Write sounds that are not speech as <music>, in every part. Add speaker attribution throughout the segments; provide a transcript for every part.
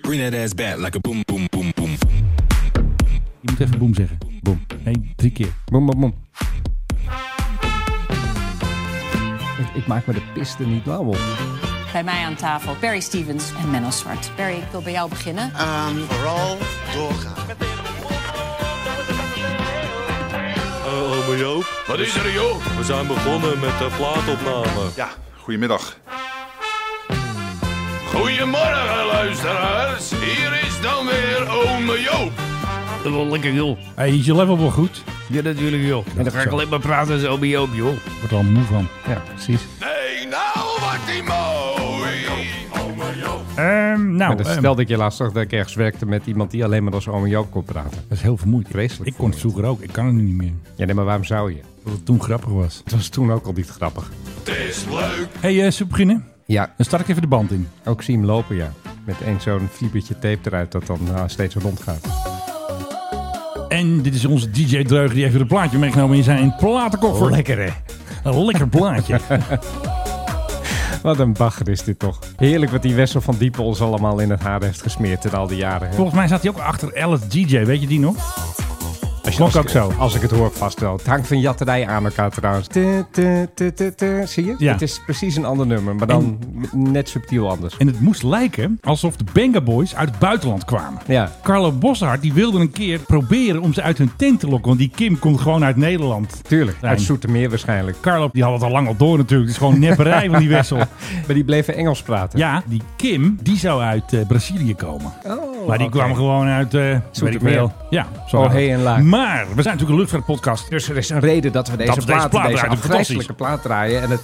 Speaker 1: Bring that ass back like a boom, boom, boom, boom.
Speaker 2: Je moet even boem zeggen. Boom. Nee, drie keer.
Speaker 3: Boom, boom, boom. Ik, ik maak me de piste niet lauw op.
Speaker 4: Bij mij aan tafel Barry Stevens en Menno Zwart. Barry, ik wil bij jou beginnen.
Speaker 5: aan Ehm, vooral doorgaan.
Speaker 6: Oh, oh, maar Joop. Wat is er, joh? We zijn begonnen met de plaatopname.
Speaker 7: Ja, goedemiddag.
Speaker 6: Goedemorgen, luisteraars. Hier is dan weer Ome Joop.
Speaker 8: Dat wordt lekker, joh.
Speaker 2: Hé, hey, is je level wel goed?
Speaker 8: Ja, natuurlijk, joh. En dan ga ik
Speaker 2: zo.
Speaker 8: alleen maar praten zo bij Joop, joh.
Speaker 2: Wordt er al moe van. Ja, precies.
Speaker 6: Nee, nou wat die mooi.
Speaker 2: Ehm, nou,
Speaker 3: Maar dat
Speaker 2: ehm,
Speaker 3: stelde ik je laatst zag dat ik ergens werkte met iemand die alleen maar als oom Joop kon praten.
Speaker 2: dat is heel vermoeiend.
Speaker 3: Vreselijk
Speaker 2: Ik kon het
Speaker 3: voor je.
Speaker 2: vroeger ook. Ik kan het nu niet meer.
Speaker 3: Ja, nee, maar waarom zou je?
Speaker 2: Dat het toen grappig was.
Speaker 3: Het was toen ook al niet grappig.
Speaker 6: Het is leuk.
Speaker 2: Hé, hey, eh, zullen we beginnen?
Speaker 3: Ja,
Speaker 2: Dan start ik even de band in.
Speaker 3: ook zie hem lopen, ja. Met één zo'n fliebertje tape eruit dat dan ah, steeds rondgaat.
Speaker 2: En dit is onze DJ Dreuger die heeft weer een plaatje meegenomen in zijn platenkoffer.
Speaker 3: Lekker, hè?
Speaker 2: Een lekker plaatje.
Speaker 3: Wat een bagger is dit toch. Heerlijk wat die Wessel van Diepen ons allemaal in het haar heeft gesmeerd in al die jaren. hè.
Speaker 2: Volgens mij zat hij ook achter Alice DJ. Weet je die nog?
Speaker 3: Als
Speaker 2: klonk
Speaker 3: als
Speaker 2: ook
Speaker 3: ik-
Speaker 2: zo.
Speaker 3: Als ik het hoor vast wel. Het hangt van jatterij aan elkaar trouwens. Tu, tu, tu, tu, tu. Zie je?
Speaker 2: Ja.
Speaker 3: Het is precies een ander nummer, maar dan m- net subtiel anders.
Speaker 2: En het moest lijken alsof de Benga Boys uit het buitenland kwamen.
Speaker 3: Ja.
Speaker 2: Carlo Bossard die wilde een keer proberen om ze uit hun tent te lokken. Want die Kim komt gewoon uit Nederland.
Speaker 3: Tuurlijk,
Speaker 2: Zijn.
Speaker 3: uit Zoetermeer waarschijnlijk.
Speaker 2: Carlo die had het al lang al door natuurlijk. Het is gewoon nepperij
Speaker 3: <laughs>
Speaker 2: van die wissel.
Speaker 3: Maar die bleven Engels praten.
Speaker 2: Ja, die Kim die zou uit eh, Brazilië komen.
Speaker 3: Oh,
Speaker 2: maar die
Speaker 3: oké.
Speaker 2: kwam gewoon uit... eh, weet ik
Speaker 3: Zoetermeer.
Speaker 2: veel. Ja, zo.
Speaker 3: Oh,
Speaker 2: gaat het.
Speaker 3: hey en laag.
Speaker 2: Maar we zijn natuurlijk een luchtvaartpodcast.
Speaker 3: Dus er is een reden dat we deze
Speaker 2: Dat we deze
Speaker 3: plaat,
Speaker 2: plaat
Speaker 3: deze,
Speaker 2: draaien,
Speaker 3: afgrijselijke plaat draaien. En het...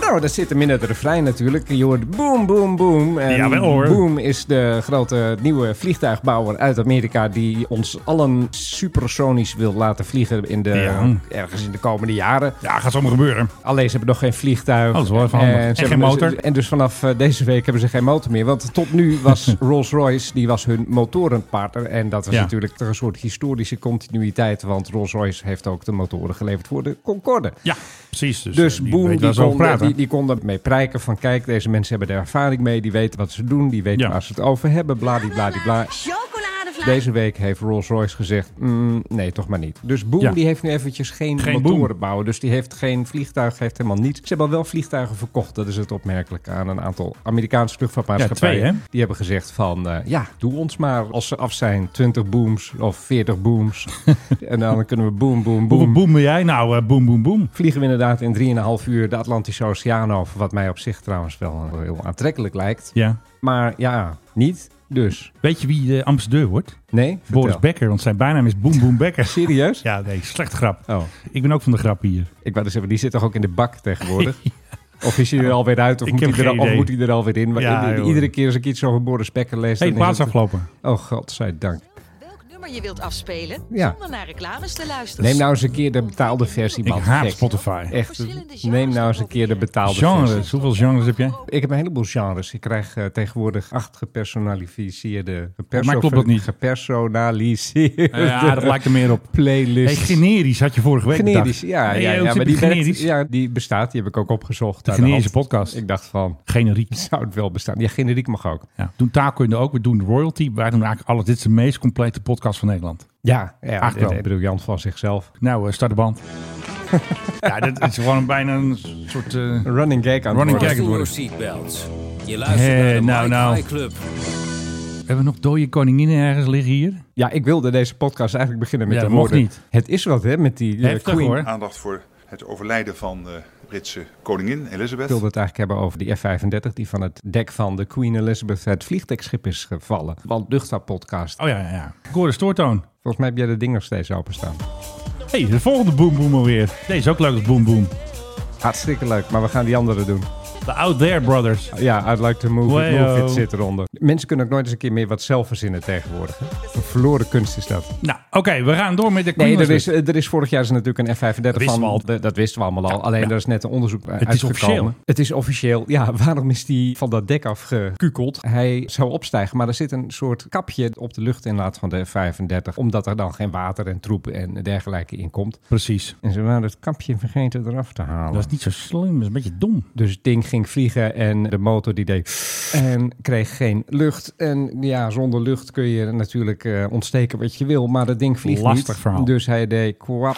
Speaker 3: Nou, dat zit hem in het refrein natuurlijk. Je hoort boom, boom, boom. En
Speaker 2: Jawel, hoor.
Speaker 3: Boom is de grote nieuwe vliegtuigbouwer uit Amerika... die ons allen supersonisch wil laten vliegen in de,
Speaker 2: Ja.
Speaker 3: ergens in de komende jaren.
Speaker 2: Ja, gaat zomaar gebeuren.
Speaker 3: Alleen ze hebben nog geen vliegtuig.
Speaker 2: Oh, dat is wel even handig.
Speaker 3: ze
Speaker 2: En geen
Speaker 3: hebben dus-
Speaker 2: motor.
Speaker 3: en dus vanaf eh, deze week hebben ze geen motor meer. Want tot nu was
Speaker 2: <laughs>
Speaker 3: Rolls-Royce die was hun motorenpartner. En dat was
Speaker 2: Ja.
Speaker 3: natuurlijk toch een soort historische continuïteit. Want Rolls-Royce heeft ook de motoren geleverd voor de Concorde.
Speaker 2: Ja, precies. Dus,
Speaker 3: Dus
Speaker 2: eh, die
Speaker 3: Boom,
Speaker 2: weet
Speaker 3: die
Speaker 2: waar ze over
Speaker 3: kon,
Speaker 2: praten.
Speaker 3: die, die kon ermee prijken van kijk, deze mensen hebben er ervaring mee. Die weten wat ze doen, die weten
Speaker 2: Ja.
Speaker 3: waar ze het over hebben. Bladibladibla.
Speaker 4: Chocoladevla.
Speaker 3: Deze week heeft Rolls-Royce gezegd, "Mm, nee, toch maar niet. Dus Boom
Speaker 2: Ja.
Speaker 3: die heeft nu eventjes geen,
Speaker 2: Geen
Speaker 3: motoren
Speaker 2: Boom.
Speaker 3: bouwen. Dus die heeft geen vliegtuig, heeft helemaal niets. Ze hebben wel vliegtuigen verkocht. Dat is het opmerkelijke aan een aantal Amerikaanse luchtvaartmaatschappijen.
Speaker 2: Ja, twee, hè?
Speaker 3: Die hebben gezegd van, eh, ja, doe ons maar als ze af zijn 20 booms of 40
Speaker 2: <laughs>
Speaker 3: booms. en dan kunnen we boom, boom,
Speaker 2: Hoeveel
Speaker 3: boom.
Speaker 2: boem ben jij? Nou, eh, boem, boem, boem.
Speaker 3: Vliegen we inderdaad in 3,5 uur de Atlantische Oceaan over. Wat mij op zich trouwens wel heel aantrekkelijk lijkt.
Speaker 2: Ja.
Speaker 3: Maar ja, niet. Dus,
Speaker 2: Weet je wie de ambassadeur wordt?
Speaker 3: nee,
Speaker 2: Boris
Speaker 3: vertel.
Speaker 2: Becker, want zijn bijnaam is Boem Boem Becker.
Speaker 3: Serieus?
Speaker 2: Ja, nee, slecht grap.
Speaker 3: Oh.
Speaker 2: Ik ben ook van de grap hier.
Speaker 3: Ik wou dus zeggen, die zit toch ook in de bak
Speaker 2: <laughs>
Speaker 3: tegenwoordig? Of is hij er alweer uit, of,
Speaker 2: Ik
Speaker 3: moet
Speaker 2: heb
Speaker 3: hij, er,
Speaker 2: geen
Speaker 3: al- of
Speaker 2: idee.
Speaker 3: moet hij er alweer in? Maar
Speaker 2: Ja,
Speaker 3: i- i-
Speaker 2: joh.
Speaker 3: iedere keer als ik iets over Boris Becker lees...
Speaker 2: Hey,
Speaker 3: dan
Speaker 2: de
Speaker 3: is
Speaker 2: plaats
Speaker 3: het-
Speaker 2: afgelopen.
Speaker 3: Oh, godzijdank.
Speaker 4: Welk nummer je wilt afspelen
Speaker 3: Ja.
Speaker 4: zonder naar reclames te luisteren.
Speaker 3: Neem nou eens een keer de betaalde versie,
Speaker 2: Ik
Speaker 3: man.
Speaker 2: haat
Speaker 3: Gek.
Speaker 2: Spotify.
Speaker 3: Echt,
Speaker 4: Verschillende
Speaker 3: neem
Speaker 4: genres
Speaker 3: nou eens een keer de betaalde versie.
Speaker 2: Genres, hoeveel genres heb jij?
Speaker 3: Ik heb een heleboel genres. Ik krijg eh, tegenwoordig acht gepersonaliseerde... Geperso
Speaker 2: Maar klopt dat niet?
Speaker 3: Gepersonaliseerde
Speaker 2: Ja, dat lijkt er meer op. Hey,
Speaker 3: playlist.
Speaker 2: generisch had je vorige week
Speaker 3: Generisch,
Speaker 2: bedacht.
Speaker 3: ja.
Speaker 2: Hey,
Speaker 3: ja, ja,
Speaker 2: eh, wat
Speaker 3: maar
Speaker 2: heb je
Speaker 3: die, werkt,
Speaker 2: generisch?
Speaker 3: ja, die bestaat, die heb ik ook opgezocht.
Speaker 2: De
Speaker 3: aan Nou, de hand.
Speaker 2: generische podcast.
Speaker 3: Ik dacht van,
Speaker 2: Generiek.
Speaker 3: zou het wel bestaan? Ja, generiek mag ook.
Speaker 2: Ja. Doen Taco in de ook. We doen royalty. Wij doen eigenlijk alles. Dit is de meest complete podcast van Nederland.
Speaker 3: Ja, ja
Speaker 2: Ach, wel.
Speaker 3: eh, briljant van zichzelf.
Speaker 2: Nou, eh, start de
Speaker 3: <laughs>
Speaker 2: band. ja, dit is gewoon bijna een soort... eh,
Speaker 3: Een running gag aan
Speaker 2: Running
Speaker 3: het worden.
Speaker 2: gag.
Speaker 9: Doe your seatbelts. Je luistert
Speaker 2: Hé,
Speaker 9: naar de
Speaker 2: nou,
Speaker 9: Mike
Speaker 2: nou.
Speaker 9: High Club.
Speaker 2: hebben we nog dode koninginnen ergens liggen hier?
Speaker 3: Ja, ik wilde deze podcast eigenlijk beginnen met
Speaker 2: Ja,
Speaker 3: de
Speaker 2: dat mocht
Speaker 3: woorden.
Speaker 2: niet.
Speaker 3: Het is wat, hè, met die eh,
Speaker 2: Heftig
Speaker 3: Queen.
Speaker 2: hoor.
Speaker 7: Aandacht voor het overlijden van de Britse koningin
Speaker 3: Ik
Speaker 7: Elizabeth.
Speaker 3: wilde het eigenlijk hebben over die F-35 die van het dek van de Queen Elizabeth het vliegdekschip is gevallen. Want luchtvaartpodcast.
Speaker 2: Oh ja, ja, ja. Ik hoor de stoortoon.
Speaker 3: Volgens mij heb jij de ding nog steeds openstaan.
Speaker 2: Hé, hey, de volgende Boom Boom alweer. Deze is ook leuk als Boom Boom.
Speaker 3: Hartstikke leuk, maar we gaan die andere doen.
Speaker 2: The Out There Brothers.
Speaker 3: Ja, I'd like to move it,
Speaker 2: Wayo.
Speaker 3: move it zit eronder. Mensen kunnen ook nooit eens een keer meer wat zelf verzinnen tegenwoordig. hè. Een verloren kunst is dat.
Speaker 2: Nou, oké, we gaan door met de
Speaker 3: Nee, er
Speaker 2: Queen
Speaker 3: is, eh, er is vorig jaar is er natuurlijk een F-35
Speaker 2: wisten
Speaker 3: van.
Speaker 2: we al.
Speaker 3: De- dat wisten we allemaal al. Alleen
Speaker 2: ja.
Speaker 3: er is net een onderzoek uit
Speaker 2: is officieel.
Speaker 3: Het is officieel. Ja, waarom is die van dat dek afgekukeld? Hij zou opstijgen, maar er zit een soort kapje op de luchtinlaat van de F-35. Omdat er dan geen water en troep en dergelijke in komt.
Speaker 2: Precies.
Speaker 3: En ze waren het kapje vergeten eraf te halen.
Speaker 2: Dat is niet zo slim, dat is een beetje dom.
Speaker 3: Dus het ding ging vliegen en de motor die deed... En kreeg geen lucht. En ja, zonder lucht kun je natuurlijk eh, ontsteken wat je wil. Maar dat ding vliegt
Speaker 2: Lastig
Speaker 3: niet.
Speaker 2: verhaal.
Speaker 3: Dus hij deed kwap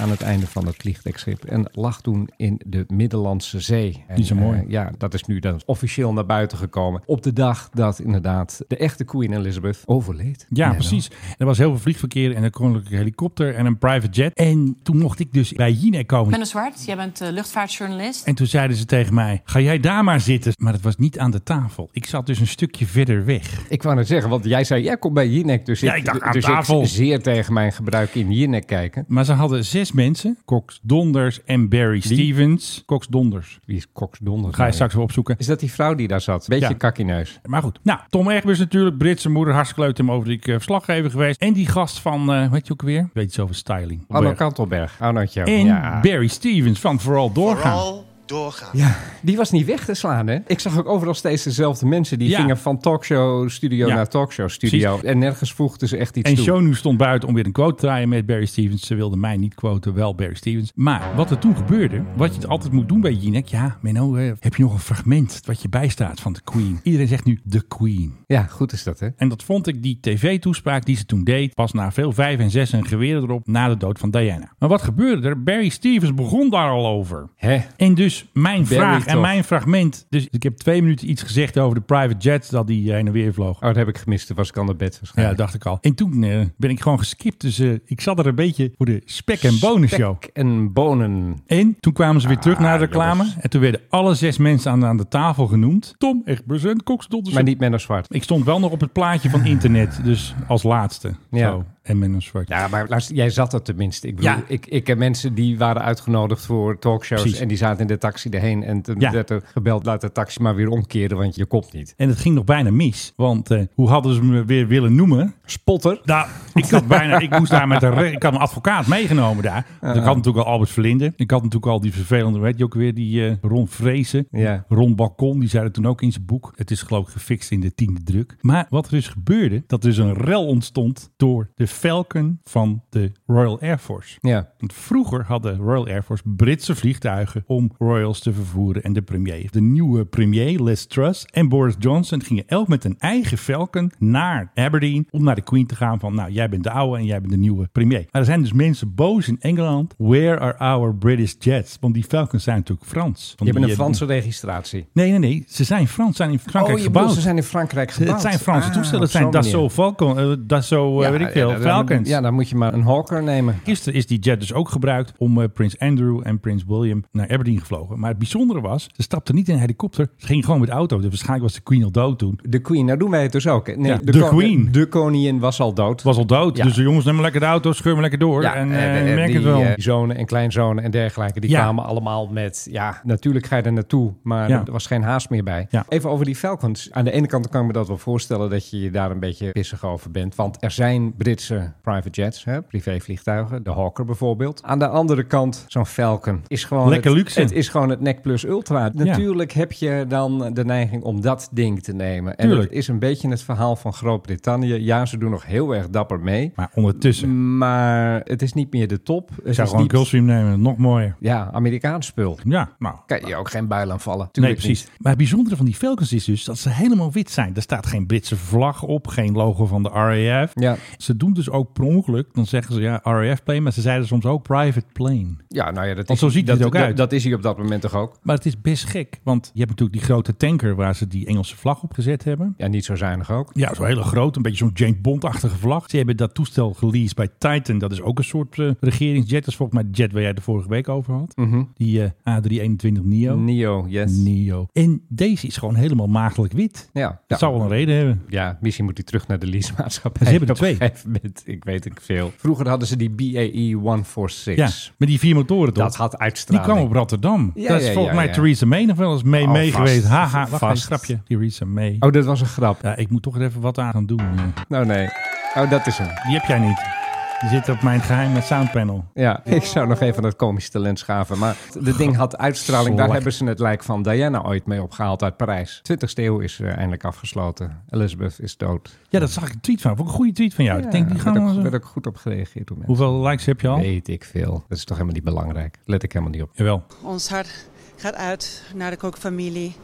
Speaker 3: aan het einde van het vliegdekschip. En lag toen in de Middellandse Zee. En,
Speaker 2: Niet zo mooi.
Speaker 3: eh, ja, dat is nu dan officieel naar buiten gekomen. Op de dag dat inderdaad de echte Queen Elizabeth overleed.
Speaker 2: Ja,
Speaker 3: Net
Speaker 2: precies. Er was heel veel vliegverkeer en een koninklijke helikopter en een private jet. En toen mocht ik dus bij Jinek komen.
Speaker 4: Menno Zwart, jij bent eh, luchtvaartjournalist.
Speaker 2: En toen zeiden ze tegen mij, ga jij daar maar zitten. Maar dat was niet aan de tafel. Ik zat dus een stukje verder weg.
Speaker 3: Ik wou net zeggen, want jij zei, jij komt bij Jinek. Dus
Speaker 2: Ja,
Speaker 3: ik,
Speaker 2: ik dacht, aan
Speaker 3: dus
Speaker 2: tafel.
Speaker 3: ik zeer tegen mijn gebruik in Jinek kijken.
Speaker 2: Maar ze hadden zes mensen. Cox Donders en Barry Stevens. Cox Donders.
Speaker 3: Wie is Cox Donder?
Speaker 2: Ga je straks weer opzoeken.
Speaker 3: Is dat die vrouw die daar zat? Beetje
Speaker 2: Ja.
Speaker 3: kakkineus.
Speaker 2: Maar goed. Nou, Tom Egbers natuurlijk. Britse moeder. Hartstikke leuk hem over die eh, verslaggever geweest. En die gast van, eh weet je ook weer? Weet je zoveel styling.
Speaker 3: Anno Kantelberg. Arnootje.
Speaker 2: En
Speaker 3: Ja.
Speaker 2: Barry Stevens van Vooral Doorgaan.
Speaker 5: Vooral doorgaan.
Speaker 3: Ja, die was niet weg te slaan, hè? Ik zag ook overal steeds dezelfde mensen. Die
Speaker 2: Ja.
Speaker 3: gingen van talkshow-studio
Speaker 2: Ja.
Speaker 3: naar talkshow-studio.
Speaker 2: Precies.
Speaker 3: En nergens voegden ze echt iets
Speaker 2: En
Speaker 3: toe.
Speaker 2: Shonu stond buiten om weer een quote te draaien met Barry Stevens. Ze wilde mij niet quoten, wel Barry Stevens. Maar wat er toen gebeurde, wat je het altijd moet doen bij Jinek. Ja, Menno, eh, heb je nog een fragment wat je bijstaat van de Queen? Iedereen zegt nu de Queen.
Speaker 3: Ja, goed is dat, hè? Oh,
Speaker 2: En dat vond ik die tv-toespraak die ze toen deed, pas na veel vijf en zes en geweren erop na de dood van Diana. Maar wat gebeurde er? Barry Stevens begon daar al over.
Speaker 3: Hè?
Speaker 2: En dus mijn
Speaker 3: Barry
Speaker 2: vraag en
Speaker 3: toch.
Speaker 2: mijn fragment. Dus ik heb twee minuten iets gezegd over de private jets dat die heen en weer vloog.
Speaker 3: Oh, dat heb ik gemist. Toen was ik aan het bed
Speaker 2: Ja,
Speaker 3: waarschijnlijk.
Speaker 2: dacht ik al. En toen eh, ben ik gewoon geskipt. Dus eh, ik zat er een beetje voor de spek en bonen show.
Speaker 3: Spek en bonen.
Speaker 2: En toen kwamen ze weer terug naar de reclame.
Speaker 3: jongens.
Speaker 2: En toen werden alle zes mensen aan, aan de tafel genoemd. Tom Egbers en Cox Doddersen.
Speaker 3: Maar niet Menno Zwart.
Speaker 2: Ik stond wel nog op het plaatje van internet. Dus als laatste.
Speaker 3: Ja.
Speaker 2: Zo. En met een zwart.
Speaker 3: Ja, maar luister, jij zat er tenminste. Ik bedoel,
Speaker 2: Ja.
Speaker 3: ik, ik heb mensen die waren uitgenodigd voor talkshows
Speaker 2: Precies.
Speaker 3: en die zaten in de taxi erheen en toen
Speaker 2: Ja.
Speaker 3: werd er gebeld, laat de taxi maar weer omkeren, want je komt niet.
Speaker 2: En het ging nog bijna mis. Want eh, hoe hadden ze me weer willen noemen?
Speaker 3: Spotter.
Speaker 2: Nou, <laughs> ik had bijna, ik moest daar met een, re- ik had een advocaat meegenomen daar. Want ik had natuurlijk al Albert Verlinde. Ik had natuurlijk al die vervelende, weet je ook weer, die eh, Ron Vrezen.
Speaker 3: Ja.
Speaker 2: Ron Balkon, die zei dat toen ook in zijn boek. Het is geloof ik gefixt in de tiende druk. Maar wat er dus gebeurde, dat er dus een rel ontstond door de Falcon van de Royal Air Force.
Speaker 3: Ja.
Speaker 2: Want vroeger had de Royal Air Force Britse vliegtuigen om royals te vervoeren en de premier. De nieuwe premier, Liz Truss en Boris Johnson gingen elk met een eigen Falcon naar Aberdeen om naar de Queen te gaan van nou, jij bent de oude en jij bent de nieuwe premier. Maar er zijn dus mensen boos in Engeland. Where are our British jets? Want die Falcons zijn natuurlijk Frans. Van
Speaker 3: Je
Speaker 2: die,
Speaker 3: hebt een
Speaker 2: eh,
Speaker 3: Franse registratie.
Speaker 2: Nee, nee, nee. Ze zijn Frans. zijn in Frankrijk
Speaker 3: oh, je
Speaker 2: gebouwd.
Speaker 3: bedoelt, ze zijn in Frankrijk gebouwd.
Speaker 2: Het zijn Franse
Speaker 3: Ah,
Speaker 2: toestellen. Het
Speaker 3: op
Speaker 2: zijn
Speaker 3: zo'n manier.
Speaker 2: Dassault Falcon. eh, Dassault, eh,
Speaker 3: Ja,
Speaker 2: weet ik veel.
Speaker 3: ja, dan-
Speaker 2: Falcons.
Speaker 3: Ja, dan moet je maar een Hawker nemen.
Speaker 2: Gisteren is die jet dus ook gebruikt om eh, Prins Andrew en Prins William naar Aberdeen gevlogen. Maar het bijzondere was, ze stapten niet in een helikopter. Ze gingen gewoon met de auto. Dus waarschijnlijk was de Queen al dood toen.
Speaker 3: De Queen, nou doen wij het dus ook. hè? Nee,
Speaker 2: Ja, de
Speaker 3: kon-
Speaker 2: Queen.
Speaker 3: De koningin was al dood.
Speaker 2: Het was al dood.
Speaker 3: Ja.
Speaker 2: Dus de jongens, neem maar lekker de auto, scheur maar lekker door.
Speaker 3: Ja,
Speaker 2: en
Speaker 3: eh,
Speaker 2: eh,
Speaker 3: eh,
Speaker 2: merk
Speaker 3: die,
Speaker 2: het wel.
Speaker 3: eh, zonen en kleinzonen en dergelijke, die
Speaker 2: Ja.
Speaker 3: kwamen allemaal met, ja, natuurlijk ga je er naartoe, maar
Speaker 2: Ja.
Speaker 3: er was geen haast meer bij.
Speaker 2: Ja.
Speaker 3: Even over die Falcons. Aan de ene kant kan ik me dat wel voorstellen dat je je daar een beetje pissig over bent, want er zijn Britse private jets, hè, privévliegtuigen, de Hawker bijvoorbeeld. Aan de andere kant, zo'n Falcon is gewoon
Speaker 2: Lekker
Speaker 3: het,
Speaker 2: luxe.
Speaker 3: Het is gewoon het Neck Plus Ultra. Natuurlijk heb je dan de neiging om dat ding te nemen. En
Speaker 2: Tuurlijk.
Speaker 3: het is een beetje het verhaal van Groot-Brittannië. Ja, ze doen nog heel erg dapper mee.
Speaker 2: Maar ondertussen,
Speaker 3: Maar het is niet meer de top. Het
Speaker 2: ik zou
Speaker 3: Mm, is
Speaker 2: gewoon
Speaker 3: niet-
Speaker 2: Gulfstream nemen. Nog mooier.
Speaker 3: Ja, Amerikaans spul.
Speaker 2: Ja, nou.
Speaker 3: Kan je ook geen buil aan vallen.
Speaker 2: Nee,
Speaker 3: Tuurlijk
Speaker 2: precies.
Speaker 3: niet.
Speaker 2: Maar het bijzondere van die Falcons is dus dat ze helemaal wit zijn. Er staat geen Britse vlag op, geen logo van de RAF.
Speaker 3: Ja.
Speaker 2: Ze doen dus ook per ongeluk, dan zeggen ze ja RAF plane, maar ze zeiden soms ook private plane.
Speaker 3: Ja, nou ja, dat
Speaker 2: Want
Speaker 3: is,
Speaker 2: zo ziet
Speaker 3: dat,
Speaker 2: het ook
Speaker 3: dat-
Speaker 2: uit.
Speaker 3: Dat is hij op dat moment toch ook?
Speaker 2: Maar het is best gek, want je hebt natuurlijk die grote tanker waar ze die Engelse vlag op gezet hebben.
Speaker 3: Ja, niet zo zuinig ook.
Speaker 2: Ja, zo'n hele grote, een beetje zo'n James Bond-achtige vlag. Ze hebben dat toestel geleased bij Titan. Dat is ook een soort eh, regeringsjet. Dat is volgens mij de jet waar jij de vorige week over had.
Speaker 3: Mhm.
Speaker 2: Die eh, A321 NIO.
Speaker 3: Neo, yes.
Speaker 2: NIO. En deze is gewoon helemaal maagdelijk wit.
Speaker 3: Ja, ja.
Speaker 2: Dat zou wel een reden hebben.
Speaker 3: Ja, misschien moet hij terug naar de leasemaatschappij.
Speaker 2: Ze hebben
Speaker 3: <laughs>
Speaker 2: er
Speaker 3: Op een
Speaker 2: twee.
Speaker 3: gegeven moment. ik weet ik veel. Vroeger hadden ze die E BAE 146.
Speaker 2: Ja, met die vier motoren toch?
Speaker 3: Dat had
Speaker 2: die
Speaker 3: uitstraling.
Speaker 2: kwam op Rotterdam.
Speaker 3: Ja,
Speaker 2: Daar is
Speaker 3: ja,
Speaker 2: volgens
Speaker 3: ja,
Speaker 2: mij
Speaker 3: ja.
Speaker 2: Theresa May nog wel eens mee,
Speaker 3: Oh,
Speaker 2: mee
Speaker 3: vast.
Speaker 2: geweest. Haha, wacht, een
Speaker 3: Vast.
Speaker 2: grapje. Theresa May.
Speaker 3: Oh, dat was een grap.
Speaker 2: Ja, ik moet toch er even wat aan gaan doen. eh.
Speaker 3: Nou nee. Oh, dat is hem.
Speaker 2: Die heb jij niet. Die zit op mijn geheime soundpanel.
Speaker 3: Ja, ik zou nog even dat komische talent schaven. Maar het ding had uitstraling. Daar
Speaker 2: Slak.
Speaker 3: hebben ze het lijk van Diana ooit mee opgehaald uit Parijs. 20ste eeuw is eh, eindelijk afgesloten. Elizabeth is dood.
Speaker 2: Ja, dat zag ik een tweet van. Vond ik een goede tweet van jou. ik denk, die
Speaker 3: Daar
Speaker 2: gaan
Speaker 3: werd,
Speaker 2: we
Speaker 3: ook,
Speaker 2: eens-
Speaker 3: werd ook goed op gereageerd door mensen.
Speaker 2: Hoeveel likes heb je al?
Speaker 3: Weet ik veel. Dat is toch helemaal niet belangrijk. Let ik helemaal niet op.
Speaker 2: Jawel.
Speaker 10: Ons hart gaat uit naar de kokfamilie.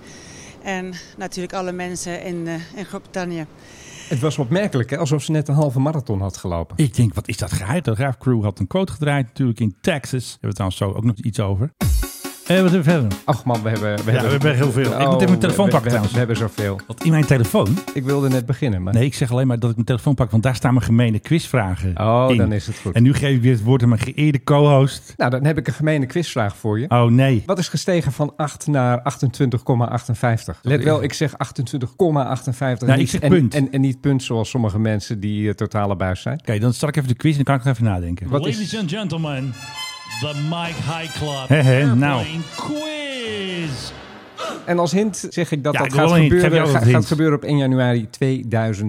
Speaker 10: En natuurlijk alle mensen in, eh, in Groot-Brittannië.
Speaker 3: Het was opmerkelijk, hè? alsof ze net een halve marathon had gelopen.
Speaker 2: Ik denk, wat is dat geheim? De Graaf Crew had een quote gedraaid natuurlijk in Texas. Daar hebben we trouwens zo ook nog iets over. En wat hebben we verder?
Speaker 3: Ach man, we hebben... We
Speaker 2: Ja, we hebben heel veel. Ik moet even mijn telefoon
Speaker 3: we-
Speaker 2: pakken
Speaker 3: we- we-
Speaker 2: trouwens.
Speaker 3: We hebben zoveel.
Speaker 2: Want in mijn telefoon...
Speaker 3: Ik wilde net beginnen, maar...
Speaker 2: Nee, ik zeg alleen maar dat ik mijn telefoon pak, want daar staan mijn gemene quizvragen
Speaker 3: Oh,
Speaker 2: in.
Speaker 3: dan is het goed.
Speaker 2: En nu geef ik weer het woord aan mijn geëerde co-host.
Speaker 3: Nou, dan heb ik een gemene quizvraag voor je.
Speaker 2: Oh nee.
Speaker 3: Wat is gestegen van 8 naar 28,58? Let wel, ik zeg 28,58.
Speaker 2: Nou,
Speaker 3: niet-
Speaker 2: ik zeg
Speaker 3: en,
Speaker 2: punt.
Speaker 3: En, en niet punt zoals sommige mensen die eh, totale buis zijn.
Speaker 2: Oké, dan start ik even de quiz en dan kan ik nog even nadenken.
Speaker 3: Wat is...
Speaker 8: and gentlemen, the Mike High Club
Speaker 2: Hè, hè, nou.
Speaker 8: Quiz.
Speaker 3: En als hint zeg ik dat
Speaker 2: Ja,
Speaker 3: dat
Speaker 2: ik
Speaker 3: gaat
Speaker 2: wil een hint. Geef
Speaker 3: gebeuren,
Speaker 2: jou
Speaker 3: ga-
Speaker 2: wat hint.
Speaker 3: gaat gebeuren op 1 januari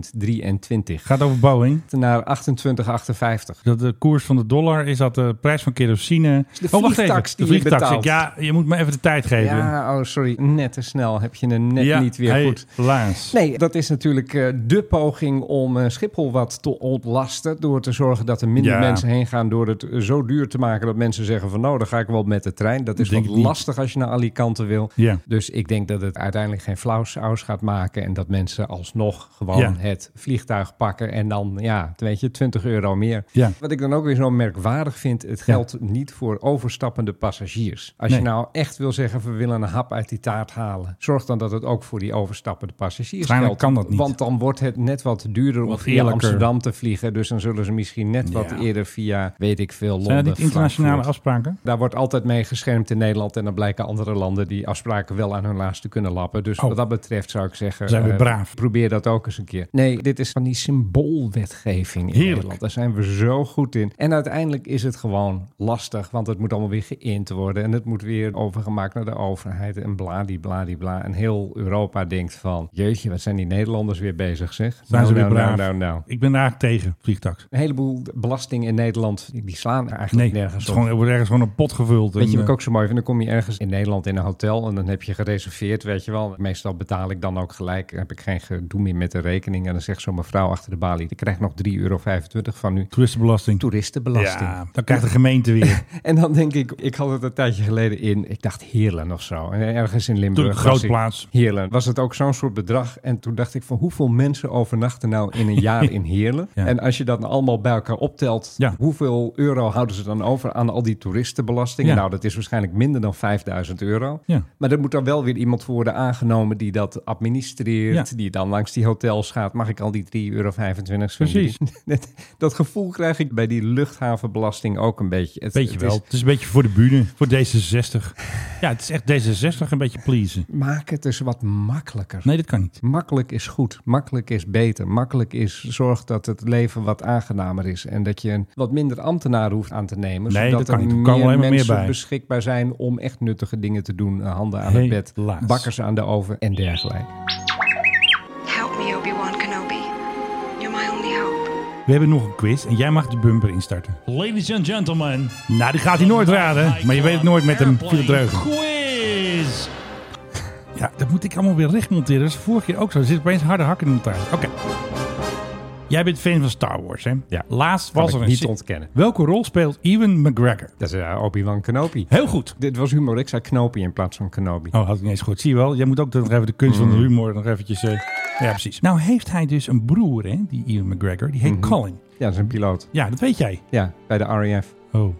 Speaker 3: 2023.
Speaker 2: Gaat over Boeing.
Speaker 3: Naar 28,58.
Speaker 2: Dat de koers van de dollar is dat de prijs van kerosine. Oh,
Speaker 3: de vliegtax die je betaalt.
Speaker 2: Ja, je moet me even de tijd geven.
Speaker 3: Ja, oh sorry. Net te snel heb je hem net
Speaker 2: Ja,
Speaker 3: niet weer goed.
Speaker 2: Helaas.
Speaker 3: Nee, dat is natuurlijk eh, de poging om eh, Schiphol wat te ontlasten. Door te zorgen dat er minder
Speaker 2: Ja.
Speaker 3: mensen heen gaan. Door het eh, zo duur te maken dat mensen zeggen van nou, dan ga ik wel met de trein. Dat is
Speaker 2: Denk
Speaker 3: wat
Speaker 2: ik niet.
Speaker 3: lastig als je naar Alicante wil.
Speaker 2: Ja.
Speaker 3: Dus ik denk dat het uiteindelijk geen flauwsaus gaat maken. En dat mensen alsnog gewoon
Speaker 2: Ja.
Speaker 3: het vliegtuig pakken. En dan, ja, weet je, 20 euro meer.
Speaker 2: Ja.
Speaker 3: Wat ik dan ook weer zo merkwaardig vind, het geldt niet voor overstappende passagiers. Als je
Speaker 2: Nee.
Speaker 3: nou echt wil zeggen, we willen een hap uit die taart halen, zorg dan dat het ook voor die overstappende passagiers
Speaker 2: Waarschijnlijk
Speaker 3: geldt.
Speaker 2: kan dat niet.
Speaker 3: Want dan wordt het net wat duurder om
Speaker 2: Wat
Speaker 3: via
Speaker 2: eerlijker.
Speaker 3: Amsterdam te vliegen. Dus dan zullen ze misschien net wat
Speaker 2: Ja.
Speaker 3: eerder via, weet ik veel, Londen.
Speaker 2: Zijn dat niet internationale
Speaker 3: Frankfurt.
Speaker 2: afspraken?
Speaker 3: Daar wordt altijd mee geschermd in Nederland. En dan blijken andere landen die afspraken wel aan hun laarste kunnen lappen. Dus
Speaker 2: Oh.
Speaker 3: wat dat betreft zou ik zeggen...
Speaker 2: Zijn we
Speaker 3: eh,
Speaker 2: braaf.
Speaker 3: Probeer dat ook eens een keer. Nee, dit is van die symboolwetgeving in
Speaker 2: Heerlijk.
Speaker 3: Nederland. Daar zijn we zo goed in. En uiteindelijk is het gewoon lastig. Want het moet allemaal weer geïnt worden. En het moet weer overgemaakt naar de overheid. En bladibladibla. En heel Europa denkt van... Jeetje, wat zijn die Nederlanders weer bezig, zeg.
Speaker 2: Zijn ze weer
Speaker 3: nou,
Speaker 2: braaf?
Speaker 3: nou, nou.
Speaker 2: Ik ben daar tegen, vliegtax.
Speaker 3: Een heleboel belastingen in Nederland, die slaan eigenlijk
Speaker 2: Nee, het
Speaker 3: nergens
Speaker 2: is
Speaker 3: op.
Speaker 2: gewoon, er wordt ergens gewoon een pot
Speaker 3: Weet
Speaker 2: gevuld.
Speaker 3: je
Speaker 2: En,
Speaker 3: wat ik
Speaker 2: eh,
Speaker 3: ook zo mooi vind? Dan kom je ergens in Nederland in een hotel en dan heb je gereserveerd, weet je wel. Meestal betaal ik dan ook gelijk, heb ik geen gedoe meer met de rekening. En dan zegt zo'n mevrouw achter de balie, ik krijg nog 3,25 euro van u.
Speaker 2: toeristenbelasting.
Speaker 3: Toeristenbelasting.
Speaker 2: Ja, dan krijgt de gemeente
Speaker 3: <laughs>
Speaker 2: weer.
Speaker 3: En dan denk ik, ik had het een tijdje geleden in, ik dacht Heerlen of zo. En ergens in Limburg.
Speaker 2: Natuurlijk,
Speaker 3: was
Speaker 2: groot
Speaker 3: ik-
Speaker 2: plaats.
Speaker 3: Heerlen. Was het ook zo'n soort bedrag? En toen dacht ik van hoeveel mensen overnachten nou in een
Speaker 2: <laughs>
Speaker 3: jaar in Heerlen?
Speaker 2: Ja.
Speaker 3: En als je dat allemaal bij elkaar optelt,
Speaker 2: Ja.
Speaker 3: hoeveel euro houden ze dan over aan al die toeristenbelasting?
Speaker 2: Ja.
Speaker 3: Nou, dat is waarschijnlijk minder dan 5000 euro.
Speaker 2: Ja.
Speaker 3: Maar er moet dan wel weer iemand voor worden aangenomen die dat administreert,
Speaker 2: Ja.
Speaker 3: die dan langs die hotels gaat. Mag ik al die 3,25 euro?
Speaker 2: Precies.
Speaker 3: Dat, dat gevoel krijg ik bij die luchthavenbelasting ook een beetje. Het,
Speaker 2: Weet je
Speaker 3: het
Speaker 2: wel.
Speaker 3: is-
Speaker 2: Het is een beetje voor de bühne, voor D66. Ja, het is echt D66 een beetje pleasen.
Speaker 3: maak het dus wat makkelijker.
Speaker 2: Nee, dat kan niet.
Speaker 3: Makkelijk is goed, makkelijk is beter. Makkelijk is zorg dat het leven wat aangenamer is. En dat je een wat minder ambtenaren hoeft aan te nemen.
Speaker 2: Nee,
Speaker 3: zodat
Speaker 2: dat kan
Speaker 3: er
Speaker 2: niet. Er
Speaker 3: meer
Speaker 2: komen alleen maar meer
Speaker 3: mensen
Speaker 2: bij.
Speaker 3: beschikbaar zijn om echt nuttige dingen te doen. eh, Handen aan het bed,
Speaker 2: Helaas.
Speaker 3: bakkers aan de oven en dergelijke.
Speaker 11: Help me, Obi-Wan Kenobi. You're my only hope.
Speaker 2: We hebben nog een quiz en jij mag de bumper instarten.
Speaker 8: Ladies and gentlemen,
Speaker 2: Nou, die gaat hij nooit raden. Maar je weet het nooit met hem. Philip Dreugen.
Speaker 8: Quiz.
Speaker 2: Ja, dat moet ik allemaal weer recht monteren. Dat is vorige keer ook zo. Er zit opeens harde hak in de montage. Oké. Jij bent fan van Star Wars, hè?
Speaker 3: Ja.
Speaker 2: Laatst
Speaker 3: Kan
Speaker 2: was
Speaker 3: ik
Speaker 2: er een...
Speaker 3: niet
Speaker 2: se-
Speaker 3: ontkennen.
Speaker 2: Welke rol speelt Ewan McGregor?
Speaker 3: Dat is eh, Obi-Wan Kenobi.
Speaker 2: Heel goed.
Speaker 3: Dit was humor, ik zei Knopi in plaats van Kenobi.
Speaker 2: Oh, had ik niet eens goed. Zie je wel, jij moet ook nog even de kunst
Speaker 3: Mm.
Speaker 2: van de humor nog eventjes... eh, Ja, precies. Nou heeft hij dus een broer, hè? Die Ewan McGregor. Die
Speaker 3: Mhm.
Speaker 2: heet Colin.
Speaker 3: Ja, dat is een piloot.
Speaker 2: Ja, dat weet jij.
Speaker 3: Ja, bij de RAF.
Speaker 2: Oh.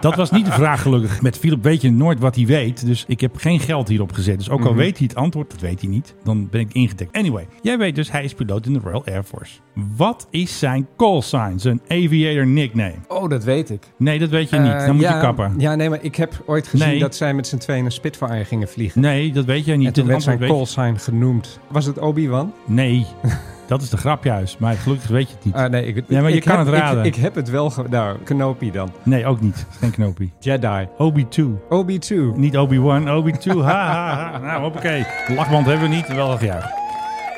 Speaker 2: dat was niet de vraag, gelukkig. Met Philip weet je nooit wat hij weet. Dus ik heb geen geld hierop gezet. Dus ook al weet hij het antwoord, dat weet hij niet. Dan ben ik ingedekt. Anyway, jij weet dus, hij is piloot in de Royal Air Force. Wat is zijn call sign? Zijn aviator nickname?
Speaker 3: Oh, dat weet ik.
Speaker 2: Nee, dat weet je niet. Dan moet
Speaker 3: Eh, ja,
Speaker 2: je kappen.
Speaker 3: Ja, nee, maar ik heb ooit gezien
Speaker 2: Nee.
Speaker 3: dat zij met z'n tweeën een Spitfire gingen vliegen.
Speaker 2: Nee, dat weet jij niet.
Speaker 3: En toen
Speaker 2: Dat
Speaker 3: werd zijn
Speaker 2: antwoord weet
Speaker 3: callsign genoemd. Was het Obi-Wan?
Speaker 2: je- Nee,
Speaker 3: <laughs>
Speaker 2: dat is de grap juist. Maar gelukkig weet je het niet.
Speaker 3: Ah, nee, ik,
Speaker 2: Ja, maar je
Speaker 3: ik
Speaker 2: kan
Speaker 3: heb-
Speaker 2: het
Speaker 3: ik-
Speaker 2: raden.
Speaker 3: Ik, heb het wel... Ge nou, Kenopi dan.
Speaker 2: Nee, ook niet. Geen knoopie.
Speaker 3: Jedi.
Speaker 2: Obi-2.
Speaker 3: Obi-2.
Speaker 2: Niet Obi-Wan, Obi-2. Ha, ha, ha. Nou, hoppakee. Lachband hebben we niet, wel gejuich.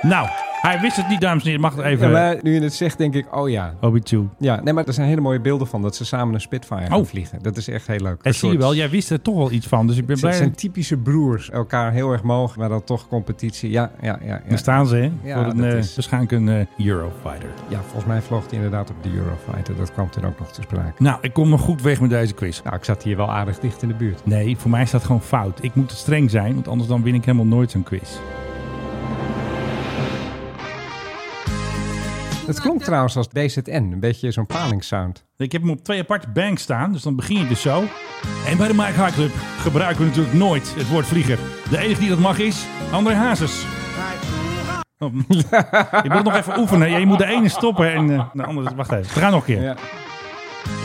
Speaker 2: Nou, Hij wist het niet, dames en heren. Mag het
Speaker 3: Ja,
Speaker 2: even...
Speaker 3: maar nu je het zegt, denk ik, oh ja.
Speaker 2: Obi-2.
Speaker 3: Ja, nee, maar er zijn hele mooie beelden van dat ze samen een Spitfire gaan
Speaker 2: Oh.
Speaker 3: vliegen. Dat is echt heel leuk.
Speaker 2: En
Speaker 3: Een
Speaker 2: zie je
Speaker 3: soort-
Speaker 2: wel, jij wist er toch wel iets van. Dus ik ben
Speaker 3: Het zijn-
Speaker 2: blij.
Speaker 3: het zijn typische broers. Elkaar heel erg mogen, maar dan toch competitie. Ja, ja, ja. ja.
Speaker 2: Daar staan ze, hè?
Speaker 3: Ja,
Speaker 2: voor een,
Speaker 3: dat
Speaker 2: eh,
Speaker 3: is-
Speaker 2: Waarschijnlijk een eh, Eurofighter.
Speaker 3: ja volgens mij vloog hij inderdaad op de Eurofighter. Dat kwam toen ook nog te sprake.
Speaker 2: Nou, ik kom nog goed weg met deze quiz.
Speaker 3: Nou, ik zat hier wel aardig dicht in de buurt.
Speaker 2: Nee, voor mij staat gewoon fout. Ik moet streng zijn, want anders dan win ik helemaal nooit zo'n quiz.
Speaker 3: Het klonk trouwens als DZN. Een beetje zo'n palingssound.
Speaker 2: Ik heb hem op twee aparte banks staan, dus dan begin je dus zo. En bij de Mike High Club gebruiken we natuurlijk nooit het woord vlieger. De enige die dat mag is André Hazes. Oh, je moet nog even oefenen. Je moet de ene stoppen en eh, de andere... Wacht even, we gaan nog een keer.
Speaker 3: Ja.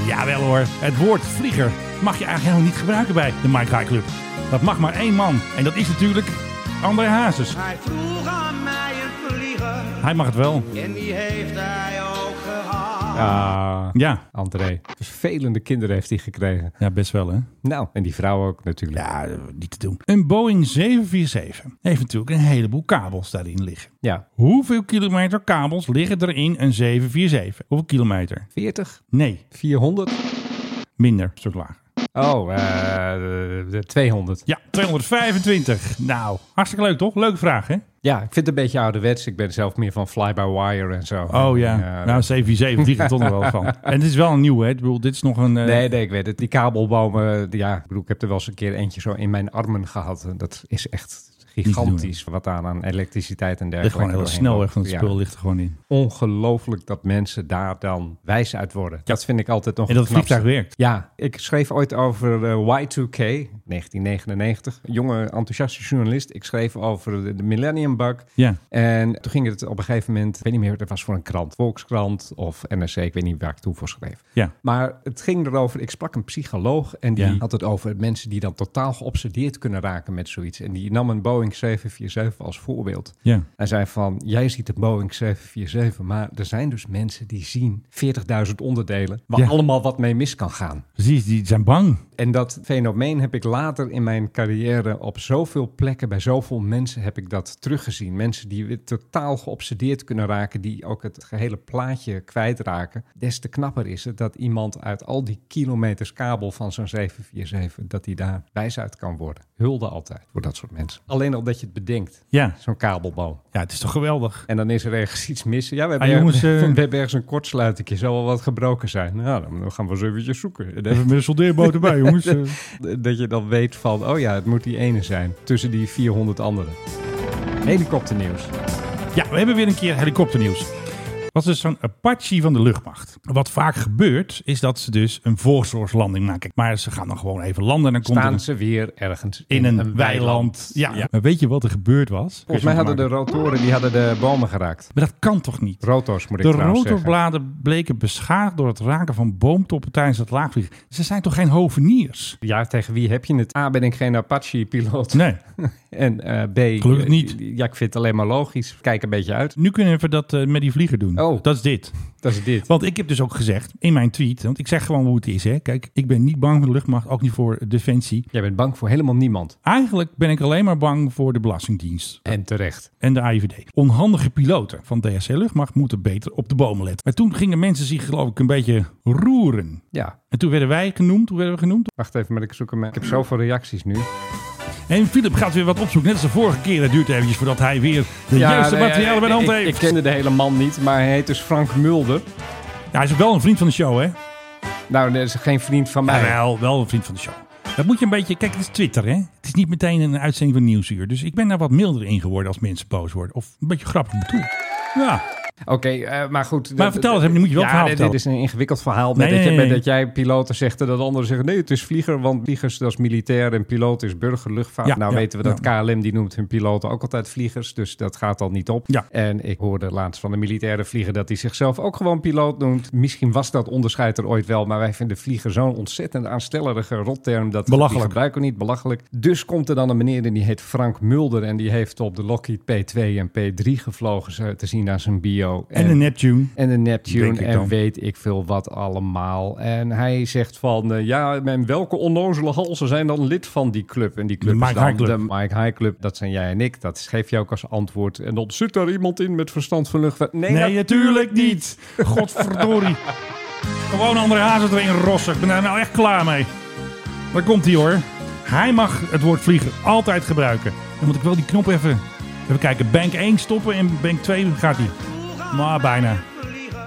Speaker 2: Jawel hoor, het woord vlieger mag je eigenlijk helemaal niet gebruiken bij de Mike High Club. Dat mag maar één man. En dat is natuurlijk André Hazes.
Speaker 5: Hij vroeg aan mij een vlieger.
Speaker 2: Hij mag het wel.
Speaker 5: En die heeft hij ook gehad.
Speaker 3: Ah,
Speaker 2: Ja,
Speaker 3: André. Vervelende kinderen heeft hij gekregen.
Speaker 2: ja best wel hè.
Speaker 3: Nou, en die vrouw ook natuurlijk. Ja.
Speaker 2: Ja, eh, niet te doen. Een Boeing 747 heeft natuurlijk een heleboel kabels daarin liggen. Hoeveel kilometer kabels liggen er in een 747? Hoeveel kilometer?
Speaker 3: 40?
Speaker 2: Nee,
Speaker 3: 400?
Speaker 2: minder, een stuk lager.
Speaker 3: Oh, eh, eh, 200.
Speaker 2: Ja, 225. Nou, hartstikke leuk toch? Leuke vraag hè?
Speaker 3: Ja, ik vind het een beetje ouderwets. Ik ben zelf meer van fly-by-wire en eh, zo.
Speaker 2: Oh ja, nou 747 vliegt er toch nog wel
Speaker 3: <laughs>
Speaker 2: van. En dit is wel een nieuw hè? Ik bedoel, dit is nog een... eh,
Speaker 3: nee, nee, ik weet het. Die kabelbomen, die- ja, ik bedoel, ik heb er wel eens een keer eentje zo in mijn armen gehad. En dat is echt gigantisch wat daar aan elektriciteit en
Speaker 2: Ligt
Speaker 3: dergelijke.
Speaker 2: gewoon heel
Speaker 3: doorheen
Speaker 2: snel
Speaker 3: loopt.
Speaker 2: echt van het
Speaker 3: Ja.
Speaker 2: spul ligt er gewoon in.
Speaker 3: Ongelooflijk dat mensen daar dan wijs uit worden. Dat vind ik altijd nog
Speaker 2: En dat
Speaker 3: het knapste.
Speaker 2: vliegtuig werkt.
Speaker 3: Ja, ik schreef ooit over eh, Y2K, 1999. Een jonge, enthousiaste journalist. Ik schreef over de, de Millennium Bug.
Speaker 2: Ja.
Speaker 3: En toen ging het op een gegeven moment, ik weet niet meer, het was voor een krant, Volkskrant of NRC, ik weet niet waar ik toen voor schreef.
Speaker 2: Ja.
Speaker 3: Maar het ging erover, ik sprak een psycholoog en die
Speaker 2: Ja.
Speaker 3: had het over mensen die dan totaal geobsedeerd kunnen raken met zoiets. En die nam een Boeing 747 als voorbeeld.
Speaker 2: Ja.
Speaker 3: Hij zei van, jij ziet een Boeing 747, maar er zijn dus mensen die zien 40.000 onderdelen waar
Speaker 2: Ja.
Speaker 3: allemaal wat mee mis kan gaan.
Speaker 2: Precies, die zijn bang.
Speaker 3: En dat fenomeen heb ik later in mijn carrière op zoveel plekken, bij zoveel mensen heb ik dat teruggezien. Mensen die weer totaal geobsedeerd kunnen raken, die ook het gehele plaatje kwijtraken. Des te knapper is het dat iemand uit al die kilometers kabel van zo'n 747, dat die daar wijs uit kan worden. Hulde altijd voor dat soort mensen. Alleen al dat je het bedenkt,
Speaker 2: Ja.
Speaker 3: zo'n kabelboom.
Speaker 2: Ja, het is toch geweldig.
Speaker 3: En dan is er ergens iets mis. Ja, we hebben,
Speaker 2: Ah, jongens,
Speaker 3: <laughs> we
Speaker 2: eh.
Speaker 3: hebben ergens een kortsluiting. Er zal wel wat gebroken zijn. Nou, dan gaan we eens eventjes zoeken. En
Speaker 2: Even met een soldeerboot erbij jongens. Eh,
Speaker 3: <laughs> dat je dan weet van, oh ja, het moet die ene zijn. Tussen die 400 anderen. Helikopternieuws.
Speaker 2: Ja, we hebben weer een keer helikopternieuws. was dus zo'n Apache van de luchtmacht. Wat vaak gebeurt, is dat ze dus een voorzorgslanding maken. Maar ze gaan dan gewoon even landen en dan komt er
Speaker 3: Staan
Speaker 2: een-
Speaker 3: ze weer ergens
Speaker 2: in een, weiland. Ja. maar weet je wat er gebeurd was?
Speaker 3: Volgens mij hadden de rotoren die hadden de bomen geraakt.
Speaker 2: Maar dat kan toch niet?
Speaker 3: Rotors moet ik
Speaker 2: De
Speaker 3: trouwens zeggen.
Speaker 2: rotorbladen bleken beschadigd door het raken van boomtoppen tijdens het laagvliegen. Ze zijn toch geen hoveniers?
Speaker 3: Ja, tegen wie heb je het? A, ben ik geen Apache-piloot.
Speaker 2: Nee.
Speaker 3: <laughs> En eh, B... eh,
Speaker 2: Gelukkig niet.
Speaker 3: Ja, ik vind het alleen maar logisch. Kijk een beetje uit.
Speaker 2: Nu kunnen we even dat eh, met die vlieger doen.
Speaker 3: Oh.
Speaker 2: Dat is dit.
Speaker 3: Dat is dit.
Speaker 2: Want ik heb dus ook gezegd in mijn tweet, want ik zeg gewoon hoe het is. Hè. Kijk, ik ben niet bang voor de luchtmacht, ook niet voor defensie.
Speaker 3: Jij bent bang voor helemaal niemand.
Speaker 2: Eigenlijk ben ik alleen maar bang voor de Belastingdienst
Speaker 3: En terecht.
Speaker 2: en de AIVD. Onhandige piloten van DSC Luchtmacht moeten beter op de bomen letten. Maar toen gingen mensen zich geloof ik een beetje roeren.
Speaker 3: Ja,
Speaker 2: En toen werden wij genoemd. Hoe werden we genoemd?
Speaker 3: wacht even, maar ik zoek hem. Ik heb zoveel reacties nu.
Speaker 2: En Philip gaat weer wat opzoeken. Net als de vorige keer. Het duurt eventjes voordat hij weer de juiste
Speaker 3: nee,
Speaker 2: materialen bij de hand
Speaker 3: nou ik-
Speaker 2: heeft.
Speaker 3: Ik kende de hele man niet, maar hij heet dus Frank Mulder.
Speaker 2: Ja, hij is ook wel een vriend van de show, hè?
Speaker 3: Nou, dat is geen vriend van mij.
Speaker 2: Jawel, wel een vriend van de show. Dat moet je een beetje... Kijk, het is Twitter, hè? Het is niet meteen een uitzending van Nieuwsuur. Dus ik ben daar wat milder in geworden als mensen boos worden. Of een beetje grappig bedoeld. Ja,
Speaker 3: Oké, eh, maar goed.
Speaker 2: Maar
Speaker 3: dat-
Speaker 2: vertel eens,
Speaker 3: dat-
Speaker 2: moet je wel
Speaker 3: ja,
Speaker 2: verhaal
Speaker 3: dit- Dit is een ingewikkeld verhaal. Met
Speaker 2: Nee,
Speaker 3: dat,
Speaker 2: nee,
Speaker 3: je- met
Speaker 2: nee.
Speaker 3: dat jij piloten zegt en dat anderen zeggen... nee, het is vlieger, want vliegers dat is militair... en piloot is burgerluchtvaart.
Speaker 2: Ja,
Speaker 3: nou
Speaker 2: ja,
Speaker 3: weten we dat KLM, die noemt hun piloten ook altijd vliegers... dus dat gaat al niet op.
Speaker 2: Ja.
Speaker 3: En ik hoorde laatst van de militaire vlieger... dat hij zichzelf ook gewoon piloot noemt. Misschien was dat onderscheid er ooit wel... maar wij vinden vlieger zo'n ontzettend aanstellerige rotterm... dat
Speaker 2: Belachelijk.
Speaker 3: die gebruiken we niet, belachelijk. Dus komt er dan een meneer en die heet Frank Mulder... en die heeft op de Lockheed P2 en P3 gevlogen... zo te zien aan zijn bio... Clio.
Speaker 2: En, de Neptune.
Speaker 3: En de Neptune
Speaker 2: Denk ik
Speaker 3: en
Speaker 2: dan.
Speaker 3: weet ik veel wat allemaal. En hij zegt van, eh, ja, en welke onnozele halzen zijn dan lid van die club? En die club is
Speaker 2: De Mike
Speaker 3: dan
Speaker 2: High Club.
Speaker 3: de Mike High Club. Dat zijn jij en ik. Dat geef je ook als antwoord. En dan zit daar iemand in met verstand van luchtvaart. Nee,
Speaker 2: Nee, eh,
Speaker 3: dat-
Speaker 2: natuurlijk niet. Godverdorie. <laughs> Gewoon andere hazen erin rossen. Ik ben daar nou echt klaar mee. Daar komt hij hoor. Hij mag het woord vliegen altijd gebruiken. Dan moet ik wel die knop even, even kijken. Bank 1 stoppen en bank 2 gaat hij. Maar bijna.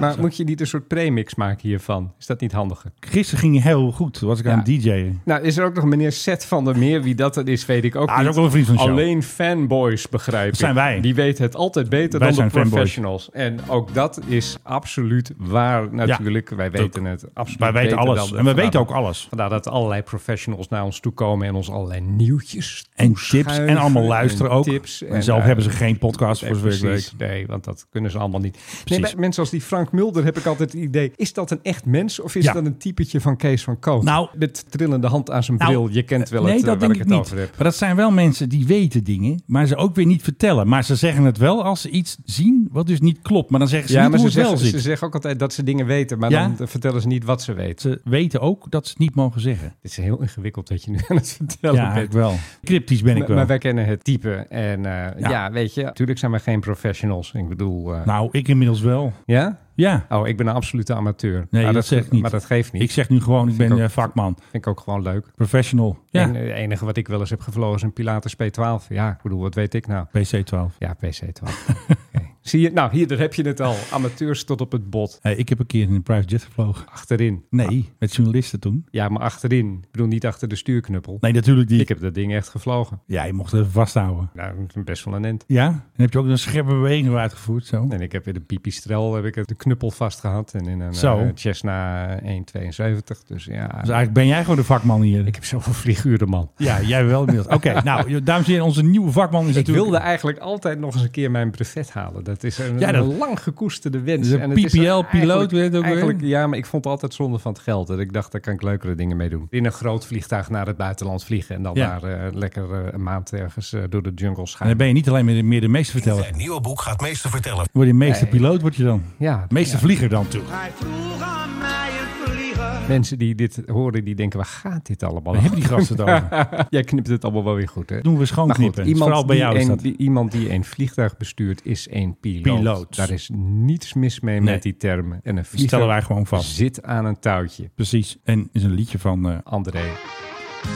Speaker 3: Maar moet je niet een soort premix maken hiervan? Is dat niet handiger?
Speaker 2: Gisteren ging hij heel goed. Toen was ik aan het DJ'en.
Speaker 3: Nou, is er ook nog meneer Seth van der Meer? Wie dat dan is, weet ik ook
Speaker 2: Ah, dat is
Speaker 3: niet.
Speaker 2: ook wel een vriend van de show.
Speaker 3: Alleen fanboys begrijpen.
Speaker 2: Dat zijn wij.
Speaker 3: Die weten het altijd beter
Speaker 2: Wij
Speaker 3: dan
Speaker 2: zijn
Speaker 3: de
Speaker 2: fanboys.
Speaker 3: professionals. En ook dat is absoluut waar natuurlijk. wij weten het absoluut
Speaker 2: Wij weten
Speaker 3: beter
Speaker 2: alles.
Speaker 3: dan de-
Speaker 2: En we
Speaker 3: vandaar
Speaker 2: weten
Speaker 3: dat-
Speaker 2: ook alles.
Speaker 3: Vandaar dat allerlei professionals naar ons toe komen en ons allerlei nieuwtjes
Speaker 2: En tips.
Speaker 3: toeschuiven
Speaker 2: En allemaal luisteren
Speaker 3: en
Speaker 2: ook.
Speaker 3: tips
Speaker 2: en
Speaker 3: en,
Speaker 2: zelf
Speaker 3: eh,
Speaker 2: hebben ze geen podcast
Speaker 3: Nee,
Speaker 2: voor zover ik weet.
Speaker 3: precies. Nee, want dat kunnen ze allemaal niet. Nee,
Speaker 2: Precies.
Speaker 3: bij mensen als die Frank Mulder heb ik altijd het idee... is dat een echt mens of is
Speaker 2: Ja.
Speaker 3: dat een typetje van Kees van Koot?
Speaker 2: Nou-
Speaker 3: Met trillende hand aan zijn
Speaker 2: Nou,
Speaker 3: bril. Je kent wel
Speaker 2: nee,
Speaker 3: het, eh,
Speaker 2: dat
Speaker 3: waar
Speaker 2: denk
Speaker 3: ik
Speaker 2: ik
Speaker 3: het
Speaker 2: niet.
Speaker 3: over heb.
Speaker 2: Maar dat zijn wel mensen die weten dingen, maar ze ook weer niet vertellen. Maar ze zeggen het wel als ze iets zien wat dus niet klopt. Maar dan zeggen ze
Speaker 3: Ja,
Speaker 2: niet
Speaker 3: maar
Speaker 2: hoe
Speaker 3: ze
Speaker 2: het wel
Speaker 3: zeggen, ze
Speaker 2: zit.
Speaker 3: zeggen ook altijd dat ze dingen weten... maar
Speaker 2: Ja?
Speaker 3: dan eh, vertellen ze niet wat ze weten.
Speaker 2: Ze weten ook dat ze het niet mogen zeggen.
Speaker 3: Het is heel ingewikkeld dat je nu <laughs> aan het vertellen
Speaker 2: ja,
Speaker 3: bent.
Speaker 2: eigenlijk wel. Cryptisch ben ik
Speaker 3: Maar,
Speaker 2: wel.
Speaker 3: maar wij kennen het type. En eh,
Speaker 2: Ja.
Speaker 3: ja. weet je, natuurlijk zijn wij geen professionals. Ik bedoel, eh,
Speaker 2: Nou, ik inmiddels wel.
Speaker 3: ja?
Speaker 2: Ja.
Speaker 3: Oh, ik ben een absolute amateur.
Speaker 2: Nee,
Speaker 3: maar
Speaker 2: dat, zeg ik niet.
Speaker 3: Maar dat geeft niet.
Speaker 2: Ik zeg nu gewoon, ik ben
Speaker 3: ik ook-
Speaker 2: eh, vakman.
Speaker 3: Vind ik ook gewoon leuk.
Speaker 2: Professional. Ja,
Speaker 3: En eh, het enige wat ik wel eens heb gevlogen is een Pilatus P12. Ja, ik bedoel, wat weet ik nou?
Speaker 2: PC-12.
Speaker 3: Ja, PC12.
Speaker 2: <laughs>
Speaker 3: Oké. Zie je, nou hier, daar heb je het al. Amateurs tot op het bot.
Speaker 2: Hey, ik heb een keer in een private jet gevlogen.
Speaker 3: Achterin.
Speaker 2: Nee,
Speaker 3: Ah.
Speaker 2: met journalisten toen.
Speaker 3: Ja, maar achterin. Ik bedoel, niet achter de stuurknuppel.
Speaker 2: Nee, natuurlijk die.
Speaker 3: Ik heb dat ding echt gevlogen.
Speaker 2: Ja, je mocht het vasthouden.
Speaker 3: Nou, best wel een end.
Speaker 2: Ja? En heb je ook een scherpe beweging uitgevoerd zo?
Speaker 3: En ik heb in de pipistrel heb ik het de knuppel vastgehad. En in een
Speaker 2: Zo.
Speaker 3: eh, Cessna 172. Dus ja,
Speaker 2: Dus eigenlijk ben jij gewoon de vakman hier.
Speaker 3: ik heb zoveel vlieguren, man.
Speaker 2: Ja, jij wel inmiddels. Oké,
Speaker 3: <laughs>
Speaker 2: nou, dames en heren, onze nieuwe vakman is
Speaker 3: Ik
Speaker 2: natuurlijk...
Speaker 3: wilde eigenlijk altijd nog eens een keer mijn brevet halen. Dat is een,
Speaker 2: Ja, dat-
Speaker 3: een lang gekoesterde wens.
Speaker 2: De
Speaker 3: En het is dan
Speaker 2: PPL piloot,
Speaker 3: eigenlijk-
Speaker 2: weet je het ook weer?
Speaker 3: eigenlijk, Ja, maar ik vond het altijd zonde van het geld. Dat ik dacht, daar kan ik leukere dingen mee doen. In een groot vliegtuig naar het buitenland vliegen. En dan
Speaker 2: Ja.
Speaker 3: daar eh, lekker eh, een maand ergens eh, door de jungle
Speaker 2: En
Speaker 3: gaan.
Speaker 2: dan ben je niet alleen meer de, meer de meesterverteller.
Speaker 9: Het nieuwe boek gaat meester vertellen.
Speaker 2: Word je meesterpiloot, word je dan.
Speaker 3: Ja,
Speaker 2: Meestervlieger dan toe.
Speaker 5: Hij vroeg aan mij een vlieger.
Speaker 3: mensen die dit horen, die denken, waar gaat dit allemaal
Speaker 2: Waar hebben die gasten het
Speaker 3: <laughs>
Speaker 2: over?
Speaker 3: over? Jij knipt het allemaal wel weer Nou goed, hè?
Speaker 2: Doen we schoonknippen. Vooral bij
Speaker 3: die
Speaker 2: jou is
Speaker 3: een,
Speaker 2: dat.
Speaker 3: die, iemand die een vliegtuig bestuurt, is een piloot.
Speaker 2: Piloot.
Speaker 3: Daar is niets mis mee
Speaker 2: Nee.
Speaker 3: met die termen. En een
Speaker 2: Die stellen
Speaker 3: vliegtuig
Speaker 2: wij gewoon vast.
Speaker 3: zit aan een touwtje.
Speaker 2: Precies. En is een liedje van... eh,
Speaker 3: André.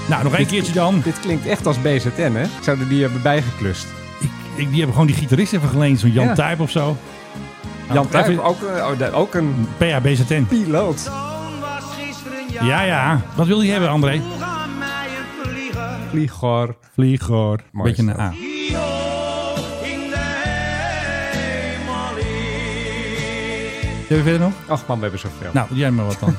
Speaker 2: Nou, nog één keertje dan.
Speaker 3: Dit klinkt echt als BZN, hè? Zouden die hebben bijgeklust?
Speaker 2: Ik, ik, die hebben gewoon die gitarist even geleend. Zo'n Jan
Speaker 3: Ja.
Speaker 2: Tuyp of zo. Nou,
Speaker 3: Jan Tuyp,
Speaker 2: even-
Speaker 3: ook, eh, oh, daar- ook een
Speaker 2: PHBZN.
Speaker 3: piloot.
Speaker 5: Zoon was gisteren jarig.
Speaker 2: Ja, ja. Wat wil je hebben, André?
Speaker 5: Vroeg aan mij een vlieger.
Speaker 3: Vlieger.
Speaker 2: Vlieger.
Speaker 3: Mooi
Speaker 2: Beetje
Speaker 3: is
Speaker 2: een
Speaker 3: dat.
Speaker 2: A.
Speaker 5: Die hoog in de hemel is.
Speaker 2: Heb je verder nog?
Speaker 3: Ach man, we hebben
Speaker 2: <laughs>
Speaker 3: zoveel.
Speaker 2: Nou, doe jij maar wat
Speaker 3: <laughs>
Speaker 2: dan.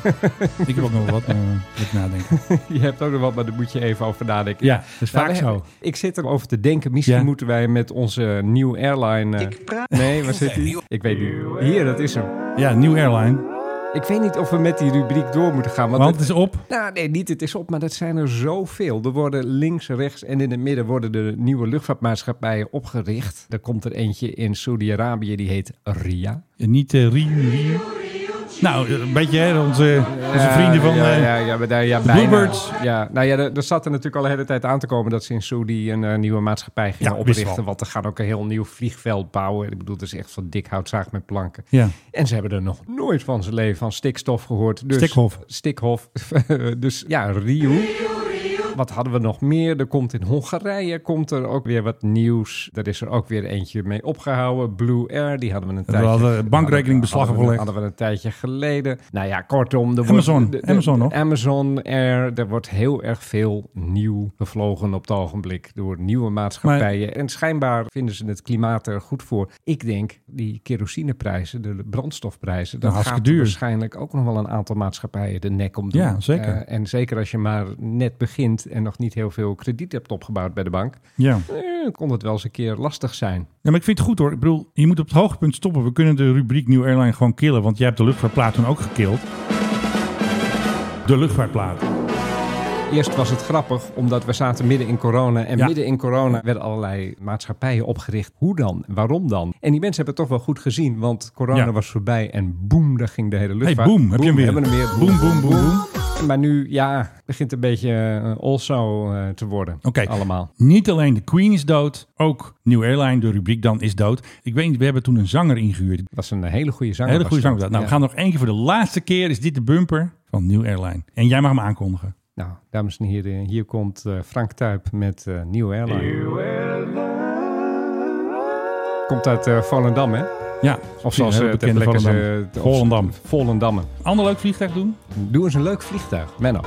Speaker 2: ik heb ook nog wat. eh, moet ik nadenken.
Speaker 3: je hebt ook nog wat, maar daar moet je even over nadenken.
Speaker 2: Ja, dat is
Speaker 3: Nou,
Speaker 2: vaak
Speaker 3: we-
Speaker 2: zo.
Speaker 3: Ik zit erover te denken. Misschien
Speaker 2: Ja.
Speaker 3: moeten wij met onze nieuwe airline... eh, Nee, waar zit die? Ik weet niet. Hier, dat is hem.
Speaker 2: Ja, nieuw airline.
Speaker 3: Ik weet niet of we met die rubriek door moeten gaan. Want,
Speaker 2: Want het
Speaker 3: het-
Speaker 2: is op.
Speaker 3: nou, nee, niet het is op, maar dat zijn er zoveel. Er worden links, rechts en in het midden worden de nieuwe luchtvaartmaatschappijen opgericht. Er komt er eentje in Saudi-Arabië, die heet RIA.
Speaker 2: En Niet eh Riu Riu. Nou, eh, een beetje hè, onze, onze vrienden van...
Speaker 3: Ja,
Speaker 2: eh,
Speaker 3: ja, ja, maar daar- ja,
Speaker 2: de
Speaker 3: bijna.
Speaker 2: Bluebirds.
Speaker 3: Ja, nou ja, er, er zat er natuurlijk al de hele tijd aan te komen dat ze in Saudi een eh, nieuwe maatschappij gingen
Speaker 2: Ja, wisten we
Speaker 3: oprichten.
Speaker 2: al.
Speaker 3: Want er gaan ook een heel nieuw vliegveld bouwen. Ik bedoel, dat is echt van dik houtzaag met planken.
Speaker 2: Ja.
Speaker 3: En ze hebben er nog nooit van zijn leven van stikstof gehoord. Dus,
Speaker 2: Stikhof.
Speaker 3: Stikhof. <laughs> dus ja, Rio. Wat hadden we nog meer? Er komt in Hongarije komt er ook weer wat nieuws. Daar is er ook weer eentje mee opgehouden. Blue Air, die hadden we een tijdje...
Speaker 2: hadden bankrekeningbeslag
Speaker 3: hadden we-
Speaker 2: opgelegd.
Speaker 3: Hadden we een tijdje geleden. Nou ja, kortom... Er
Speaker 2: Amazon.
Speaker 3: wordt-
Speaker 2: Amazon nog.
Speaker 3: Amazon Air. Er wordt heel erg veel nieuw gevlogen op het ogenblik door nieuwe maatschappijen. En schijnbaar vinden ze het klimaat er goed voor. Ik denk, die kerosineprijzen, de brandstofprijzen, dat
Speaker 2: Nou,
Speaker 3: gaat
Speaker 2: hartstikke duur.
Speaker 3: waarschijnlijk ook nog wel een aantal maatschappijen de nek om doen.
Speaker 2: Ja, zeker.
Speaker 3: Eh, en zeker als je maar net begint en nog niet heel veel krediet hebt opgebouwd bij de bank,
Speaker 2: Ja.
Speaker 3: eh, kon het wel eens een keer lastig zijn.
Speaker 2: ja, maar ik vind het goed hoor. Ik bedoel, je moet op het hoogtepunt stoppen. We kunnen de rubriek Nieuw Airline gewoon killen. Want jij hebt de luchtvaartplaat toen ook gekild. De luchtvaartplaat.
Speaker 3: Eerst was het grappig, omdat we zaten midden in corona. En
Speaker 2: Ja.
Speaker 3: midden in corona werden allerlei maatschappijen opgericht. Hoe dan? Waarom dan? En die mensen hebben het toch wel goed gezien, want corona
Speaker 2: Ja.
Speaker 3: was voorbij. En boem, daar ging de hele luchtvaart.
Speaker 2: boem, heb je hem weer.
Speaker 3: hebben we hem
Speaker 2: Boem, boem, boem,
Speaker 3: Maar nu, ja, het begint een beetje eh, also eh, te worden.
Speaker 2: Oké.
Speaker 3: Allemaal.
Speaker 2: Niet alleen de Queen is dood, ook New Airline, de rubriek dan, is dood. Ik weet niet, we hebben toen een zanger ingehuurd. Dat
Speaker 3: was een hele goede zanger.
Speaker 2: hele goede
Speaker 3: was dat.
Speaker 2: zanger. Nou,
Speaker 3: Ja.
Speaker 2: we gaan nog één keer voor de laatste keer. Is dit de bumper van New Airline? En jij mag hem aankondigen.
Speaker 3: Nou, dames en heren, hier komt eh, Frank Tuip met eh Nieuw Airline. Komt uit eh, Volendam, hè?
Speaker 2: Ja,
Speaker 3: Of zoals
Speaker 2: een
Speaker 3: eh
Speaker 2: hele
Speaker 3: ter
Speaker 2: bekende
Speaker 3: plekke ze...
Speaker 2: Volendam. Volendam.
Speaker 3: Volendammen.
Speaker 2: Ander leuk vliegtuig doen?
Speaker 3: Doe eens een leuk vliegtuig. Menno.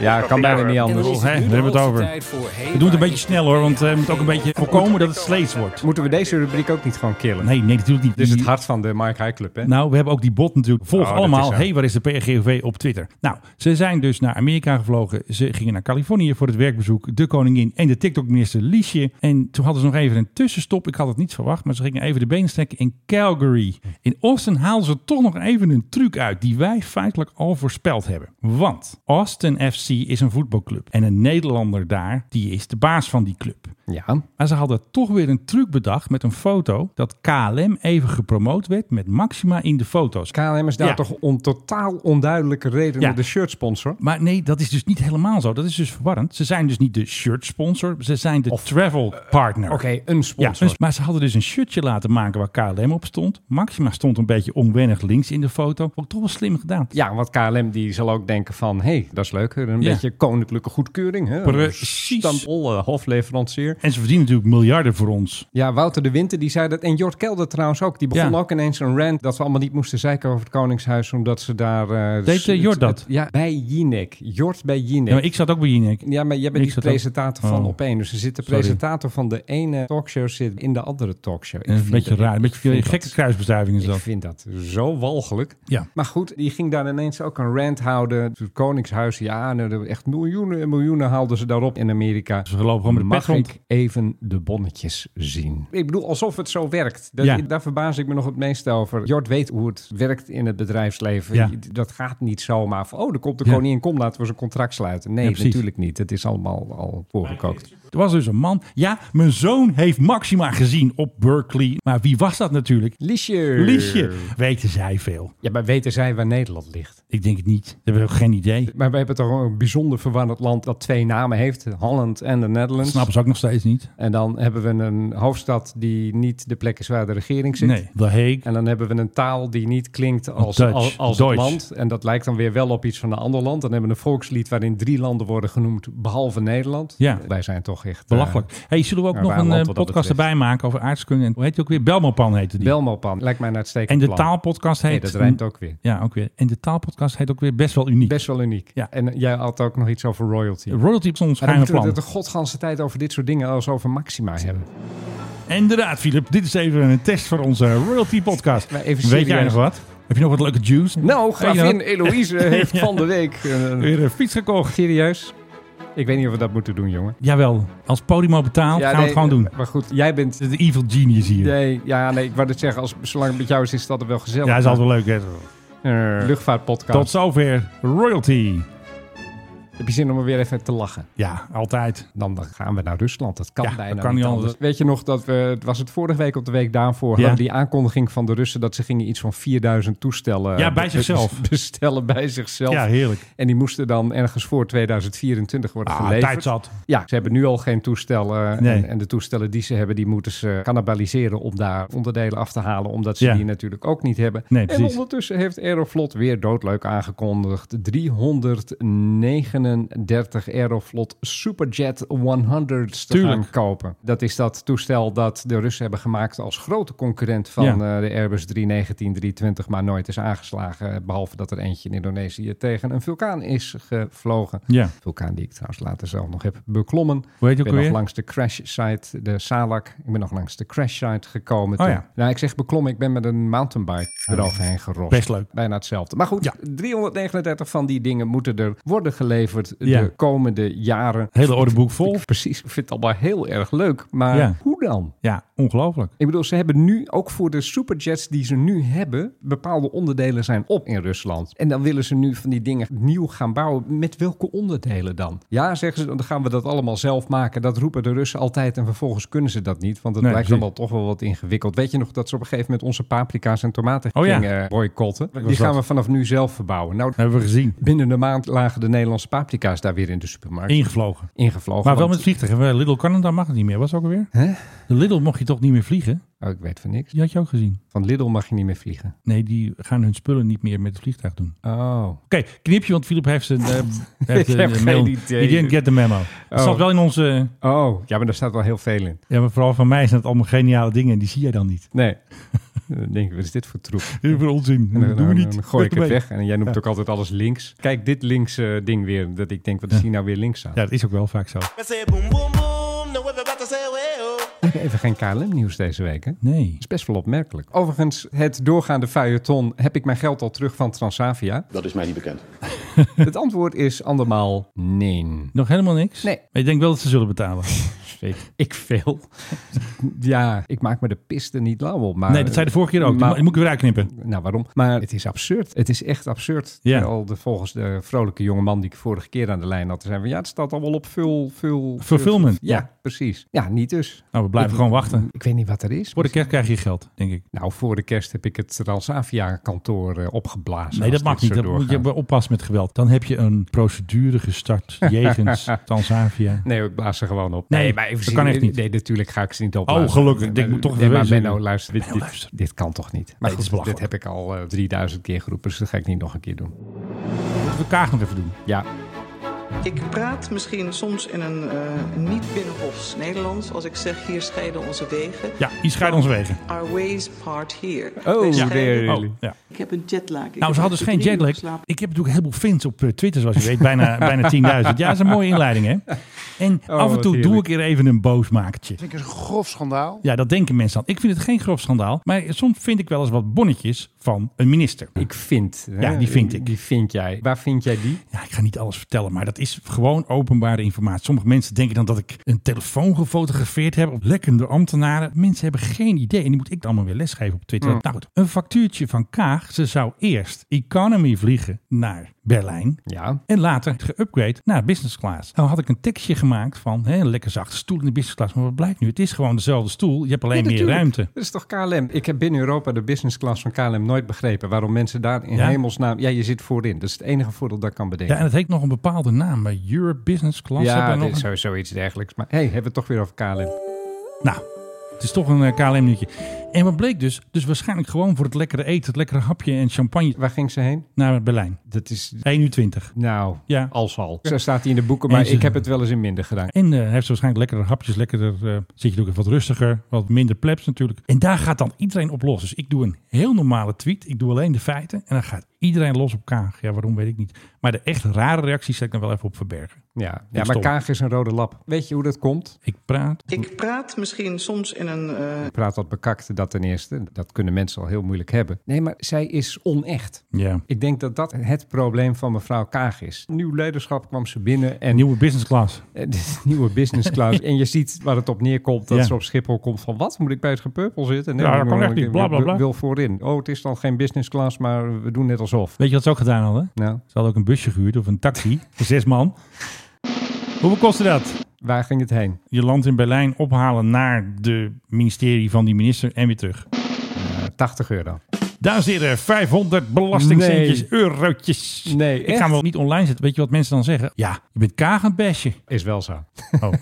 Speaker 3: Ja, kan bijna niet anders.
Speaker 2: Hè, we hebben het over. We doen het een beetje snel hoor, want eh, we moeten ook een beetje voorkomen dat het sleets wordt.
Speaker 3: Moeten we deze rubriek ook niet gewoon killen?
Speaker 2: Nee, nee, natuurlijk niet.
Speaker 3: Dit is Dus het hart van de Mike High Club, hè?
Speaker 2: Nou, we hebben ook die bot natuurlijk. Volg
Speaker 3: Oh, dat is
Speaker 2: allemaal.
Speaker 3: zo.
Speaker 2: hey, waar is de PRGOV op Twitter? Nou, ze zijn dus naar Amerika gevlogen. Ze gingen naar Californië voor het werkbezoek. De koningin en de TikTok-minister Liesje. En toen hadden ze nog even een tussenstop. Ik had het niet verwacht, maar ze gingen even de benen strekken in Calgary. In Austin haalden ze toch nog even een truc uit die wij feitelijk al voorspeld hebben. Want Austin FC is een voetbalclub. En een Nederlander daar, die is de baas van die club.
Speaker 3: Ja.
Speaker 2: Maar ze hadden toch weer een truc bedacht met een foto dat KLM even gepromoot werd met Maxima in de foto's.
Speaker 3: KLM is daar
Speaker 2: Ja.
Speaker 3: toch om totaal onduidelijke redenen
Speaker 2: Ja.
Speaker 3: de shirt sponsor.
Speaker 2: Maar nee, dat is dus niet helemaal zo. Dat is dus verwarrend. Ze zijn dus niet de shirt sponsor, ze zijn de travel partner.
Speaker 3: Eh, Oké, een
Speaker 2: Ja,
Speaker 3: sponsor.
Speaker 2: dus- maar ze hadden dus een shirtje laten maken waar KLM op stond. Maxima stond een beetje onwennig links in de foto. Ook toch wel slim gedaan.
Speaker 3: Ja, want KLM die zal ook denken van... hé, hey, dat is leuk. Een
Speaker 2: Ja.
Speaker 3: beetje koninklijke goedkeuring. Hè?
Speaker 2: Precies.
Speaker 3: Stampol, eh, hofleverancier.
Speaker 2: En ze verdienen natuurlijk miljarden voor ons.
Speaker 3: Ja, Wouter de Winter die zei dat. En Jort Kelder trouwens ook. Die begon
Speaker 2: Ja.
Speaker 3: ook ineens een rant dat we allemaal niet moesten zeiken over het Koningshuis. Omdat ze daar... eh,
Speaker 2: Deed, eh,
Speaker 3: het-
Speaker 2: Jort dat?
Speaker 3: het- Ja, bij Jinek. Jort bij Jinek.
Speaker 2: Ja, maar ik zat ook bij Jinek.
Speaker 3: Ja, maar jij bent
Speaker 2: Ik
Speaker 3: die
Speaker 2: zat ook-
Speaker 3: presentator van
Speaker 2: Oh.
Speaker 3: op één. Dus er zit de
Speaker 2: Sorry.
Speaker 3: presentator van de ene talkshow zit in de andere talkshow. Ik
Speaker 2: Een
Speaker 3: vind
Speaker 2: beetje
Speaker 3: dat-
Speaker 2: raar, een
Speaker 3: ik
Speaker 2: beetje
Speaker 3: vind
Speaker 2: gekke
Speaker 3: dat-
Speaker 2: kruisbestuiving is
Speaker 3: Ik
Speaker 2: dat.
Speaker 3: vind dat zo walgelijk.
Speaker 2: Dus Ja.
Speaker 3: Maar goed, die ging daar ineens ook een rant houden. Het Koningshuis, ja, nou, er- echt miljoenen en miljoenen haalden ze daarop in Amerika.
Speaker 2: Ze gelopen gewoon met de
Speaker 3: Mag
Speaker 2: pet rond.
Speaker 3: ik even de bonnetjes zien? Ik bedoel, alsof het zo werkt. Dat,
Speaker 2: Ja.
Speaker 3: Daar verbaas ik me nog het meest over. Jort weet hoe het werkt in het bedrijfsleven.
Speaker 2: Ja.
Speaker 3: Je- Dat gaat niet zomaar van, oh, er komt de
Speaker 2: Ja.
Speaker 3: koningin, kom, laten we eens een contract sluiten. Nee,
Speaker 2: Ja, precies.
Speaker 3: natuurlijk niet. Het is allemaal al voorgekookt.
Speaker 2: Er was dus een man. Ja, mijn zoon heeft Maxima gezien op Berkeley. Maar wie was dat natuurlijk?
Speaker 3: Liesje.
Speaker 2: Liesje. Weten zij veel?
Speaker 3: Ja, maar weten zij waar Nederland ligt?
Speaker 2: Ik denk het niet. Ze hebben ook geen idee.
Speaker 3: Maar we hebben toch een bijzonder verwarrend land dat twee namen heeft. Holland en de
Speaker 2: Dat
Speaker 3: Netherlands.
Speaker 2: snappen ze ook nog steeds niet.
Speaker 3: En dan hebben we een hoofdstad die niet de plek is waar de regering zit.
Speaker 2: Nee, The Hague.
Speaker 3: En eh, dan hebben we een taal die niet klinkt als,
Speaker 2: Dutch,
Speaker 3: als, als het
Speaker 2: Duits.
Speaker 3: land. En dat lijkt dan weer wel op iets van een ander land. Dan hebben we een volkslied waarin drie landen worden genoemd, behalve Nederland.
Speaker 2: Ja.
Speaker 3: Wij zijn toch echt...
Speaker 2: Belachelijk.
Speaker 3: eh,
Speaker 2: hey, zullen we ook
Speaker 3: ja,
Speaker 2: nog
Speaker 3: waar
Speaker 2: een eh,
Speaker 3: land wat dat
Speaker 2: podcast
Speaker 3: betreft.
Speaker 2: erbij maken over aardskunde? En hoe heet die ook weer? Belmopan heette die.
Speaker 3: Belmopan, lijkt mij een
Speaker 2: en
Speaker 3: uitstekend
Speaker 2: de
Speaker 3: plan.
Speaker 2: taalpodcast heet...
Speaker 3: Nee, dat rijmt ook weer.
Speaker 2: Ja, ook weer. En de taalpodcast heet ook weer best wel uniek.
Speaker 3: Best wel uniek.
Speaker 2: Ja.
Speaker 3: En eh, jij had ook nog iets over royalty.
Speaker 2: Royalty op ons
Speaker 3: Maar dan
Speaker 2: geheime
Speaker 3: moeten we
Speaker 2: plan.
Speaker 3: het de godganse tijd over dit soort dingen als over Maxima hebben.
Speaker 2: Inderdaad, Filip. Dit is even een test voor onze royalty podcast.
Speaker 3: Maar even
Speaker 2: Weet
Speaker 3: serieus.
Speaker 2: jij nog wat? Heb je nog wat leuke juice?
Speaker 3: Nou,
Speaker 2: Weet je
Speaker 3: gravin
Speaker 2: nog?
Speaker 3: <laughs> Eloïse heeft van de week... eh,
Speaker 2: Weer een fiets gekocht.
Speaker 3: Serieus? Ik weet niet of we dat moeten doen, jongen.
Speaker 2: Jawel. Als Podimo betaalt, gaan Nou, we
Speaker 3: nee,
Speaker 2: het gewoon doen.
Speaker 3: Maar goed, jij bent...
Speaker 2: De evil genius hier.
Speaker 3: Nee, ja, nee, ik wou het zeggen, als, zolang het met jou is, is dat wel gezellig.
Speaker 2: Ja, is altijd wel leuk. Hè?
Speaker 3: Eh, Luchtvaartpodcast.
Speaker 2: Tot zover royalty.
Speaker 3: Heb je zin om er weer even te lachen?
Speaker 2: Ja, altijd.
Speaker 3: Dan, dan gaan we naar Rusland. Dat kan
Speaker 2: Ja,
Speaker 3: bijna
Speaker 2: dat kan niet anders.
Speaker 3: Weet je nog dat we... het Was het vorige week of de week daarvoor? Hadden die aankondiging van de Russen dat ze gingen iets van 4000 toestellen...
Speaker 2: Ja, bij
Speaker 3: be-
Speaker 2: zichzelf.
Speaker 3: Bestellen bij zichzelf.
Speaker 2: Ja, heerlijk.
Speaker 3: En die moesten dan ergens voor 2024 worden
Speaker 2: Ah,
Speaker 3: geleverd.
Speaker 2: tijd zat.
Speaker 3: Ja, ze hebben nu al geen toestellen. eh,
Speaker 2: Nee.
Speaker 3: En, en de toestellen die ze hebben, die moeten ze cannibaliseren om daar onderdelen af te halen. Omdat ze
Speaker 2: Ja.
Speaker 3: die natuurlijk ook niet hebben.
Speaker 2: Nee,
Speaker 3: en
Speaker 2: precies.
Speaker 3: ondertussen heeft Aeroflot weer doodleuk aangekondigd. 339 Aeroflot Superjet 100 te
Speaker 2: Tuurlijk.
Speaker 3: gaan kopen. Dat is dat toestel dat de Russen hebben gemaakt als grote concurrent van
Speaker 2: Ja.
Speaker 3: eh, de Airbus 319, 320. Maar nooit is aangeslagen. Behalve dat er eentje in Indonesië tegen een vulkaan is gevlogen.
Speaker 2: Ja.
Speaker 3: Vulkaan die ik trouwens later zelf nog heb beklommen.
Speaker 2: Hoe heet
Speaker 3: ik
Speaker 2: die ook
Speaker 3: ben nog
Speaker 2: weer?
Speaker 3: langs de crash site, de Salak. Ik ben nog langs de crash site gekomen.
Speaker 2: Oh
Speaker 3: toen.
Speaker 2: ja. Oh
Speaker 3: Nou, ik zeg beklommen, ik ben met een mountainbike eroverheen gerost.
Speaker 2: Best leuk.
Speaker 3: Bijna hetzelfde. Maar goed,
Speaker 2: Ja.
Speaker 3: 339 van die dingen moeten er worden geleverd. levert
Speaker 2: Ja.
Speaker 3: de komende jaren...
Speaker 2: Hele orderboek vol.
Speaker 3: Precies, ik vind het allemaal heel erg leuk. Maar
Speaker 2: Ja.
Speaker 3: hoe dan?
Speaker 2: Ja, ongelooflijk.
Speaker 3: Ik bedoel, ze hebben nu, ook voor de superjets die ze nu hebben, bepaalde onderdelen zijn op in Rusland. En dan willen ze nu van die dingen nieuw gaan bouwen. Met welke onderdelen dan? Ja, zeggen ze, dan gaan we dat allemaal zelf maken. Dat roepen de Russen altijd en vervolgens kunnen ze dat niet. Want het
Speaker 2: Nee,
Speaker 3: blijkt
Speaker 2: precies.
Speaker 3: allemaal toch wel wat ingewikkeld. Weet je nog dat ze op een gegeven moment onze paprika's en tomaten
Speaker 2: Oh ja.
Speaker 3: gingen eh, boycotten? Die
Speaker 2: was
Speaker 3: gaan
Speaker 2: dat?
Speaker 3: we vanaf nu zelf verbouwen. Nou,
Speaker 2: hebben we gezien.
Speaker 3: binnen de maand lagen de Nederlandse paprika's daar weer in de supermarkt.
Speaker 2: Ingevlogen.
Speaker 3: Ingevlogen.
Speaker 2: Maar wel
Speaker 3: want-
Speaker 2: met vliegtuig. hè? Little Canada mag het niet meer. Was het ook alweer?
Speaker 3: Hè?
Speaker 2: De Little mocht je toch niet meer vliegen?
Speaker 3: Oh, ik weet van niks.
Speaker 2: Die had je ook gezien.
Speaker 3: Van Lidl mag je niet meer vliegen.
Speaker 2: Nee, die gaan hun spullen niet meer met het vliegtuig doen.
Speaker 3: Oh.
Speaker 2: Oké, knipje, want Philip heeft een,
Speaker 3: <laughs>
Speaker 2: eh, heeft
Speaker 3: Ik
Speaker 2: een
Speaker 3: heb
Speaker 2: eh,
Speaker 3: geen
Speaker 2: mail.
Speaker 3: idee.
Speaker 2: He didn't get the memo. Het
Speaker 3: Oh.
Speaker 2: zat wel in onze...
Speaker 3: Oh, ja, maar daar staat wel heel veel in.
Speaker 2: Ja, maar vooral van mij zijn het allemaal geniale dingen. en Die zie jij dan niet.
Speaker 3: Nee. <laughs> Dan denk ik, wat is dit voor
Speaker 2: <laughs>
Speaker 3: troep?
Speaker 2: Heel veel onzin.
Speaker 3: En dan,
Speaker 2: doen we
Speaker 3: dan-
Speaker 2: niet.
Speaker 3: dan gooi
Speaker 2: <laughs>
Speaker 3: ik
Speaker 2: Weg
Speaker 3: het
Speaker 2: ermee.
Speaker 3: weg. En jij noemt ook altijd alles links. Kijk, dit links eh, ding weer. Dat ik denk, wat is hier nou weer links aan?
Speaker 2: Ja, dat is ook wel vaak zo.
Speaker 5: nou
Speaker 3: We hebben even geen KLM-nieuws deze week, hè? Dat
Speaker 2: Nee.
Speaker 3: is best wel opmerkelijk. Overigens, het doorgaande feuilleton. Heb ik mijn geld al terug van Transavia?
Speaker 12: Dat is mij niet bekend.
Speaker 3: <laughs> het antwoord is andermaal nee.
Speaker 2: Nog helemaal niks?
Speaker 3: Nee.
Speaker 2: Maar ik denk wel dat ze zullen betalen.
Speaker 3: Ik
Speaker 2: <laughs>
Speaker 3: veel. ja, ik maak me de piste niet lauw op. Maar,
Speaker 2: nee, dat zei de vorige keer ook. Die
Speaker 3: maar-
Speaker 2: mo- die moet ik weer uitknippen.
Speaker 3: Nou, waarom? Maar het is absurd. Het is echt absurd.
Speaker 2: Ja.
Speaker 3: Terwijl de, volgens de vrolijke jongeman die ik vorige keer aan de lijn had, zei van ja, het staat allemaal op veel, veel...
Speaker 2: Fulfillment.
Speaker 3: Ja, precies. Ja, niet dus.
Speaker 2: Nou, we blijven gewoon wachten.
Speaker 3: Ik weet niet wat er is.
Speaker 2: Voor de kerst krijg je geld, denk ik.
Speaker 3: Nou, voor de kerst heb ik het Transavia-kantoor eh, opgeblazen.
Speaker 2: Nee, dat
Speaker 3: als
Speaker 2: mag
Speaker 3: dit
Speaker 2: niet.
Speaker 3: zo
Speaker 2: Dat moet je
Speaker 3: doorgaat.
Speaker 2: wel oppassen met geweld. Dan heb je een procedure
Speaker 3: <laughs>
Speaker 2: gestart jegens Tanzania.
Speaker 3: Nee, ik blaas ze gewoon op.
Speaker 2: Nee,
Speaker 3: even
Speaker 2: dat
Speaker 3: zien-
Speaker 2: kan echt niet.
Speaker 3: Nee, natuurlijk ga ik ze niet opblazen.
Speaker 2: Oh, gelukkig. Ik denk,
Speaker 3: Maar-
Speaker 2: moet toch
Speaker 3: nee, maar
Speaker 2: verwezen
Speaker 3: Benno,
Speaker 2: worden.
Speaker 3: luister. Dit, dit,
Speaker 2: luister.
Speaker 3: dit kan toch niet? Maar
Speaker 2: dit is
Speaker 3: goed, dit
Speaker 2: belachelijk.
Speaker 3: heb ik al eh, 3000 keer geroepen, dus dat ga ik niet nog een keer doen.
Speaker 2: Moeten we Kaag nog even doen.
Speaker 3: Ja,
Speaker 13: Ik praat misschien soms in een eh, niet binnenhofs Nederlands als ik zeg hier scheiden onze wegen.
Speaker 2: Ja, die scheiden onze wegen.
Speaker 13: Our ways part here.
Speaker 3: Oh,
Speaker 13: Wij
Speaker 3: ja.
Speaker 13: scheiden-
Speaker 3: Really?
Speaker 2: Oh, ja.
Speaker 13: Ik heb een jetlag. Ik
Speaker 2: Nou,
Speaker 13: heb
Speaker 2: ze hadden dus geen
Speaker 13: echt drie uur
Speaker 2: jetlag.
Speaker 13: geslapen.
Speaker 2: Ik heb natuurlijk een heleboel fans op eh, Twitter, zoals je weet.
Speaker 14: <laughs>
Speaker 2: Bijna, bijna 10.000. Ja, dat is een mooie inleiding, hè? En
Speaker 3: Oh,
Speaker 2: af en
Speaker 3: wat
Speaker 2: toe doe
Speaker 3: heerlijk.
Speaker 2: ik er even een boosmakertje.
Speaker 14: vind ik een grof schandaal.
Speaker 2: Ja, dat denken mensen dan. Ik vind het geen grof schandaal. Maar soms vind ik wel eens wat bonnetjes van een minister.
Speaker 3: ik vind. hè?
Speaker 2: Ja, die vind ik.
Speaker 3: Die vind jij. Waar vind jij die?
Speaker 2: Ja, ik ga niet alles vertellen, maar dat is gewoon openbare informatie. Sommige mensen denken dan dat ik een telefoon gefotografeerd heb op lekkende ambtenaren. Mensen hebben geen idee en die moet ik dan maar weer lesgeven op Twitter.
Speaker 3: Ja.
Speaker 2: Nou goed, een factuurtje van Kaag. Ze zou eerst economy vliegen naar Berlijn.
Speaker 3: Ja.
Speaker 2: En later geupgrade naar business class. Nou had ik een tekstje gemaakt van hè, een lekker zachte stoel in de business class. Maar wat blijkt nu? Het is gewoon dezelfde stoel. Je hebt alleen
Speaker 3: Ja,
Speaker 2: meer
Speaker 3: natuurlijk.
Speaker 2: ruimte.
Speaker 3: Dat is toch KLM? Ik heb binnen Europa de business class van KLM nooit begrepen. Waarom mensen daar in
Speaker 2: Ja?
Speaker 3: hemelsnaam... Ja, je zit voorin. Dat is het enige voordeel dat ik kan bedenken.
Speaker 2: Ja, en het heeft nog een bepaalde naam. Maar Europe Business Class.
Speaker 3: Ja,
Speaker 2: hebben we
Speaker 3: dit
Speaker 2: nog
Speaker 3: is
Speaker 2: een-
Speaker 3: zo- zoiets dergelijks. Maar hey, hebben we het toch weer over KLM.
Speaker 2: Nou, het is toch een KLM-nutje. En wat bleek dus? Dus waarschijnlijk gewoon voor het lekkere eten, het lekkere hapje en champagne
Speaker 3: Waar ging ze heen?
Speaker 2: naar Berlijn.
Speaker 3: Dat is...
Speaker 2: 1 uur 20.
Speaker 3: Nou,
Speaker 2: Ja.
Speaker 3: als al. Zo staat hij in de boeken, maar
Speaker 2: En ze-
Speaker 3: ik heb het wel eens in minder gedaan.
Speaker 2: En eh, heeft ze waarschijnlijk lekkere hapjes, lekkerder, eh, zit je ook even wat rustiger, wat minder plebs natuurlijk. En daar gaat dan iedereen op los. Dus ik doe een heel normale tweet, ik doe alleen de feiten en dan gaat iedereen los op Kaag. Ja, waarom weet ik niet. Maar de echt rare reacties zet ik dan wel even op verbergen.
Speaker 3: Ja, ja maar
Speaker 2: stom.
Speaker 3: Kaag is een rode lap. Weet je hoe dat komt?
Speaker 2: Ik praat.
Speaker 13: Ik praat misschien soms in een... eh,
Speaker 3: Ik praat wat bekakt, dat ten eerste. Dat kunnen mensen al heel moeilijk hebben. Nee, maar zij is onecht.
Speaker 2: Ja.
Speaker 3: Ik denk dat dat het probleem van mevrouw Kaag is. Nieuw leiderschap kwam ze binnen en
Speaker 2: Nieuwe business class.
Speaker 3: eh, dit nieuwe business
Speaker 2: <laughs>
Speaker 3: class. en je ziet waar het op neerkomt dat
Speaker 2: Ja.
Speaker 3: ze op Schiphol komt van wat moet ik bij het gepeupel zitten?
Speaker 2: Ja, dat
Speaker 3: maar-
Speaker 2: kan echt niet. Bla, bla, bla.
Speaker 3: Wil voorin. Oh, het is dan geen business class, maar we doen net alsof.
Speaker 2: Weet je wat ze ook gedaan hadden?
Speaker 3: Nou,
Speaker 2: Ze hadden ook een busje gehuurd of een
Speaker 3: <laughs>
Speaker 2: taxi voor zes man. Hoeveel kostte dat?
Speaker 3: waar ging het heen?
Speaker 2: je land in Berlijn ophalen naar de ministerie van die minister en weer terug.
Speaker 3: Eh, 80 euro.
Speaker 2: Dames en heren, 500 belastingcentjes,
Speaker 3: Nee.
Speaker 2: eurotjes.
Speaker 3: Nee,
Speaker 2: Ik
Speaker 3: echt?
Speaker 2: ga hem wel niet online zetten. Weet je wat mensen dan zeggen? Ja, je bent kaag een
Speaker 3: <laughs>
Speaker 2: besje.
Speaker 3: Is wel zo.
Speaker 2: Oh.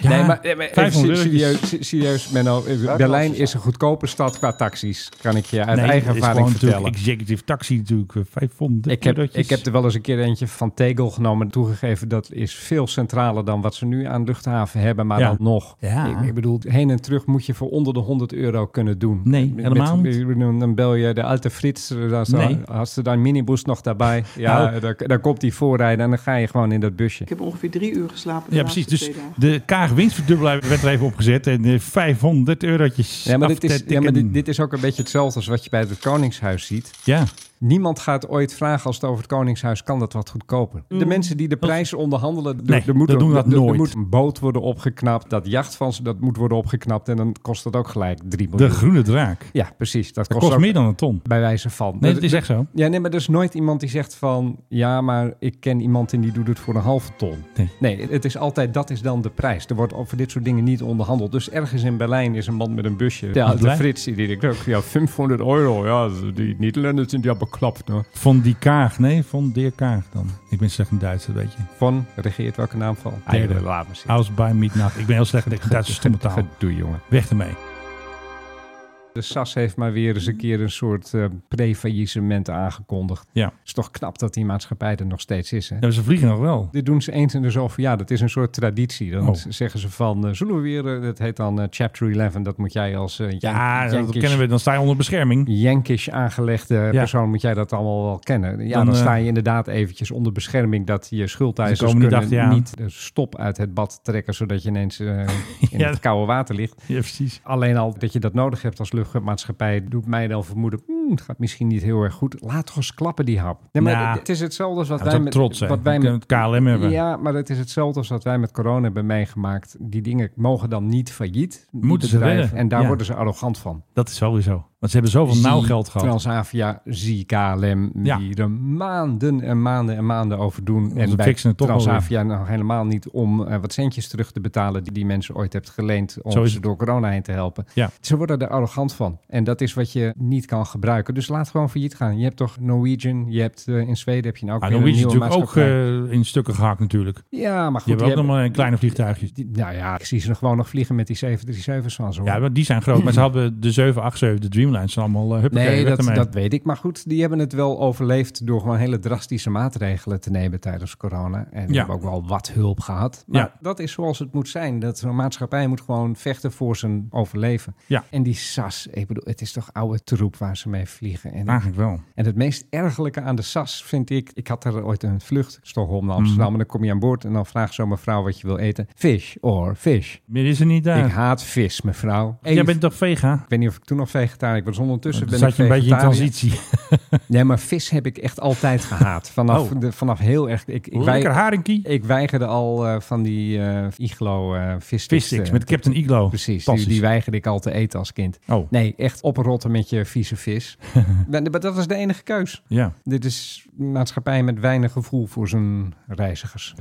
Speaker 2: Ja,
Speaker 3: nee, maar, nee, maar even
Speaker 2: 500
Speaker 3: se-
Speaker 2: eurotjes.
Speaker 3: serieus, se- serieus Menno. eh, Berlijn is een goedkope stad qua taxis. Kan ik je uit
Speaker 2: Nee,
Speaker 3: eigen
Speaker 2: het is
Speaker 3: ervaring
Speaker 2: gewoon natuurlijk
Speaker 3: vertellen.
Speaker 2: executive taxi natuurlijk. eh, 500
Speaker 3: Ik heb,
Speaker 2: eurotjes.
Speaker 3: ik heb er wel eens een keer eentje van Tegel genomen en toegegeven. Dat is veel centraler dan wat ze nu aan luchthaven hebben, maar
Speaker 2: Ja.
Speaker 3: dan nog.
Speaker 2: Ja.
Speaker 3: Ik, ik bedoel, heen en terug moet je voor onder de 100 euro kunnen doen.
Speaker 2: Nee, helemaal niet.
Speaker 3: Dan bel je je de alte Frits, daar zo,
Speaker 2: Nee.
Speaker 3: als ze dan minibus nog
Speaker 2: <laughs>
Speaker 3: daarbij, ja,
Speaker 2: Nou.
Speaker 3: dan, dan komt die voorrijden en dan ga je gewoon in dat busje.
Speaker 13: Ik heb ongeveer drie uur geslapen. de
Speaker 2: Ja,
Speaker 13: laatste
Speaker 2: precies. Dus
Speaker 13: twee dagen.
Speaker 2: de kaag winstverdubbelaar werd er even opgezet. En eh, 500 eurotjes.
Speaker 3: Ja, maar, dit is, ja, maar
Speaker 2: aftetikken.
Speaker 3: dit, dit is ook een beetje hetzelfde als wat je bij het Koningshuis ziet.
Speaker 2: Ja.
Speaker 3: Niemand gaat ooit vragen als het over het Koningshuis kan dat wat goedkoper. De
Speaker 2: Mm.
Speaker 3: mensen die de prijzen onderhandelen, er-
Speaker 2: Nee,
Speaker 3: er moet,
Speaker 2: dat doen we dat
Speaker 3: er- er
Speaker 2: nooit.
Speaker 3: moet een boot worden opgeknapt, dat jacht van ze, dat moet worden opgeknapt en dan kost dat ook gelijk 3 miljoen.
Speaker 2: De groene draak.
Speaker 3: Ja, precies. Dat,
Speaker 2: Dat kost
Speaker 3: ook-
Speaker 2: meer dan een ton.
Speaker 3: Bij wijze van.
Speaker 2: Nee, dat is echt zo.
Speaker 3: Ja, nee, maar er is nooit iemand die zegt van... ja, maar ik ken iemand en die doet het voor een halve ton.
Speaker 2: Nee.
Speaker 3: het is altijd dat is dan de prijs. Er wordt over dit soort dingen niet onderhandeld. Dus ergens in Berlijn is een man met een busje. Ja, de
Speaker 2: blij.
Speaker 3: Frits die denkt ook... ja, 500 euro, ja, die Nederlanders zijn ja beklapt. Hoor.
Speaker 2: Van die kaag. Nee, van Dirk Kaag dan. Ik ben slecht in Duits, dat weet je.
Speaker 3: Van, regeert welke naam van?
Speaker 2: Derde.
Speaker 3: Ah, Laat maar zitten.
Speaker 2: House by Midnight. Ik ben heel slecht in de Duitse stomme taal.
Speaker 3: <laughs> Gedoe, jongen.
Speaker 2: Weg ermee.
Speaker 3: De SAS heeft maar weer eens een keer een soort eh pre-faillissement aangekondigd.
Speaker 2: Ja.
Speaker 3: is toch knap dat die maatschappij er nog steeds is, hè?
Speaker 2: Ja, ze vliegen nog wel.
Speaker 3: Dit doen ze eens in de zoveel jaar. Dat is een soort traditie. Dan
Speaker 2: Oh.
Speaker 3: z- zeggen ze van, eh, zullen we weer, eh, dat heet dan eh, Chapter 11, dat moet jij als eh, Yan-
Speaker 2: Ja, dat
Speaker 3: Yankish-
Speaker 2: kennen we. Dan sta je onder bescherming.
Speaker 3: Yankish aangelegde persoon moet jij dat allemaal wel kennen. Ja, dan,
Speaker 2: Dan, eh,
Speaker 3: sta je inderdaad eventjes onder bescherming dat je
Speaker 2: Ze
Speaker 3: schuldeisers
Speaker 2: komen niet
Speaker 3: kunnen
Speaker 2: achter je aan.
Speaker 3: niet de stop uit het bad trekken, zodat je ineens
Speaker 2: <laughs>
Speaker 3: eh, in
Speaker 2: Ja.
Speaker 3: het koude water ligt.
Speaker 2: Ja, precies.
Speaker 3: Alleen al dat je dat nodig hebt als luchtvaartmaatschappij doet mij dan vermoeden, hmm, het gaat misschien niet heel erg goed. Laat toch eens klappen die hap. Nee, maar
Speaker 2: Nou,
Speaker 3: het- het is hetzelfde als wat
Speaker 2: ja,
Speaker 3: wij
Speaker 2: het is
Speaker 3: met
Speaker 2: ook trots zijn.
Speaker 3: wat wij
Speaker 2: We kunnen het KLM hebben.
Speaker 3: Ja, maar het is hetzelfde als wat wij met corona hebben meegemaakt. Die dingen mogen dan niet failliet. die
Speaker 2: Moeten ze
Speaker 3: bedrijven.
Speaker 2: redden,
Speaker 3: En daar
Speaker 2: ja.
Speaker 3: worden ze arrogant van.
Speaker 2: Dat is sowieso. Want ze hebben zoveel
Speaker 3: Zie
Speaker 2: nauw geld gehad.
Speaker 3: Transavia, zie KLM,
Speaker 2: Ja.
Speaker 3: die er maanden en maanden en maanden over doen.
Speaker 2: ze
Speaker 3: En bij
Speaker 2: fixen het toch wel
Speaker 3: Transavia nog helemaal niet om eh, wat centjes terug te betalen die die mensen ooit hebt geleend om
Speaker 2: Zo is
Speaker 3: ze
Speaker 2: het.
Speaker 3: door corona heen te helpen.
Speaker 2: Ja.
Speaker 3: Ze worden er arrogant van. En dat is wat je niet kan gebruiken. Dus laat gewoon failliet gaan. Je hebt toch Norwegian, je hebt eh, in Zweden heb je nou ook
Speaker 2: Ah,
Speaker 3: weer
Speaker 2: Norwegian
Speaker 3: een
Speaker 2: is
Speaker 3: nieuwe
Speaker 2: natuurlijk ook
Speaker 3: maatschappij.
Speaker 2: eh, in stukken gehakt natuurlijk.
Speaker 3: Ja, maar goed.
Speaker 2: je hebt ook
Speaker 3: die
Speaker 2: nog maar
Speaker 3: hebben-
Speaker 2: een kleine vliegtuigjes.
Speaker 3: die- nou ja, ik zie ze nog gewoon nog vliegen met die 737's van zo.
Speaker 2: Ja, maar die
Speaker 3: <clears throat>
Speaker 2: zijn groot. Maar ze hadden de 787, de Dreamlines, zijn allemaal uh, huppakee,
Speaker 3: Nee,
Speaker 2: weg
Speaker 3: dat,
Speaker 2: ermee.
Speaker 3: dat weet ik. Maar goed, die hebben het wel overleefd door gewoon hele drastische maatregelen te nemen tijdens corona. En die
Speaker 2: Ja.
Speaker 3: hebben ook wel wat hulp gehad. Maar
Speaker 2: Ja.
Speaker 3: dat is zoals het moet zijn. Dat zo'n maatschappij moet gewoon vechten voor zijn overleven.
Speaker 2: Ja.
Speaker 3: En die SAS, ik bedoel, het is toch oude troep waar ze mee vliegen. En
Speaker 2: Eigenlijk wel.
Speaker 3: en het meest ergelijke aan de SAS vind ik... Ik had er ooit een vlucht, Stockholm naar Amsterdam.
Speaker 2: Mhm.
Speaker 3: En dan kom je aan boord en dan vraagt zo'n mevrouw wat je wil eten. Fish or fish.
Speaker 2: Meer is er niet daar.
Speaker 3: Ik haat vis, mevrouw.
Speaker 2: Jij bent toch vega?
Speaker 3: Ik weet niet of ik toen nog vegetariër was. Ondertussen
Speaker 2: Dan
Speaker 3: Dus ben
Speaker 2: zat
Speaker 3: ik
Speaker 2: je een beetje in
Speaker 3: vegetariër.
Speaker 2: transitie.
Speaker 3: Nee, maar vis heb ik echt altijd
Speaker 2: <laughs>
Speaker 3: gehaat. Vanaf,
Speaker 2: Oh.
Speaker 3: de, vanaf heel erg... Ik, ik, wei-
Speaker 2: Lekker haringkie.
Speaker 3: ik weigerde al eh, van die eh, iglo eh vissticks.
Speaker 2: Vissticks
Speaker 3: eh,
Speaker 2: met Captain Iglo.
Speaker 3: Precies, die,
Speaker 2: Fantastisch.
Speaker 3: die weigerde ik al te eten als kind.
Speaker 2: Oh,
Speaker 3: Nee, echt oprotten met je vieze
Speaker 2: <laughs>
Speaker 3: vis. maar, maar dat was de enige keus.
Speaker 2: ja.
Speaker 3: Dit is een maatschappij met weinig gevoel voor zijn reizigers.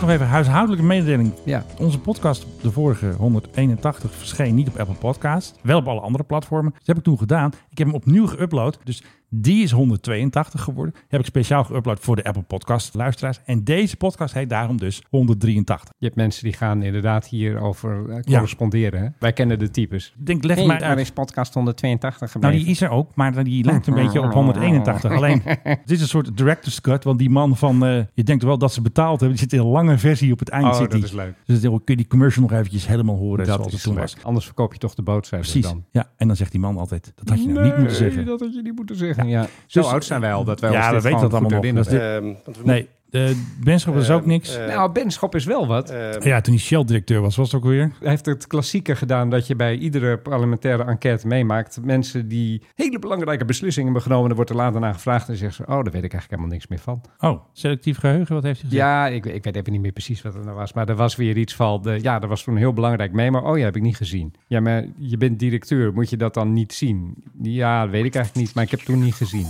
Speaker 2: Nog even een huishoudelijke mededeling.
Speaker 3: Ja.
Speaker 2: Onze podcast, de vorige 181, verscheen niet op Apple Podcast. Wel op alle andere platformen. Dat heb ik toen gedaan. Ik heb hem opnieuw geüpload. Dus die is 182 geworden. Heb ik speciaal geüpload voor de Apple Podcast luisteraars. En deze podcast heet daarom dus 183.
Speaker 3: Je hebt mensen die gaan inderdaad hierover eh, corresponderen. hè? Wij kennen de types.
Speaker 2: Ik denk, leg
Speaker 3: Hey,
Speaker 2: maar
Speaker 3: daar
Speaker 2: uit.
Speaker 3: is podcast 182 gebleven.
Speaker 2: Nou, die is er ook, maar
Speaker 3: <laughs>
Speaker 2: die lijkt een beetje op 181. Alleen, <laughs> het is een soort director's cut, want die man van... eh, je denkt wel dat ze betaald hebben. Er zit een lange versie op het eind.
Speaker 3: Oh,
Speaker 2: zit
Speaker 3: dat
Speaker 2: die.
Speaker 3: is leuk.
Speaker 2: Dus dan kun je die commercial nog eventjes helemaal horen
Speaker 3: Dat
Speaker 2: zoals
Speaker 3: is
Speaker 2: het toen
Speaker 3: leuk.
Speaker 2: was.
Speaker 3: Anders verkoop je toch de boot, zeiden ze
Speaker 2: Precies.
Speaker 3: dan.
Speaker 2: Ja, en dan zegt die man altijd: dat had je nou niet moeten zeggen.
Speaker 3: dat had je niet moeten zeggen. Ja. Zo
Speaker 2: Dus-
Speaker 3: oud zijn wij al dat wij
Speaker 2: Ja,
Speaker 3: ons
Speaker 2: we
Speaker 3: dit
Speaker 2: weten
Speaker 3: gewoon
Speaker 2: dat
Speaker 3: goed
Speaker 2: allemaal nog. Ehm,
Speaker 3: herinneren.
Speaker 2: Nee, de Benschop was ook niks.
Speaker 3: nou, Benschop is wel wat.
Speaker 2: ja, toen hij Shell-directeur was, was het ook weer.
Speaker 3: Hij heeft het klassieke gedaan dat je bij iedere parlementaire enquête meemaakt. Mensen die hele belangrijke beslissingen hebben genomen, er wordt er later naar gevraagd en zeggen ze, oh, daar weet ik eigenlijk helemaal niks meer van.
Speaker 2: Oh, selectief geheugen, wat heeft hij gezegd?
Speaker 3: Ja, ik, ik weet even niet meer precies wat het nou was. Maar er was weer iets van. De, ja, er was toen heel belangrijk mee. Maar oh ja, heb ik niet gezien. Ja, maar je bent directeur. Moet je dat dan niet zien? Ja, dat weet ik eigenlijk niet. Maar ik heb toen niet gezien.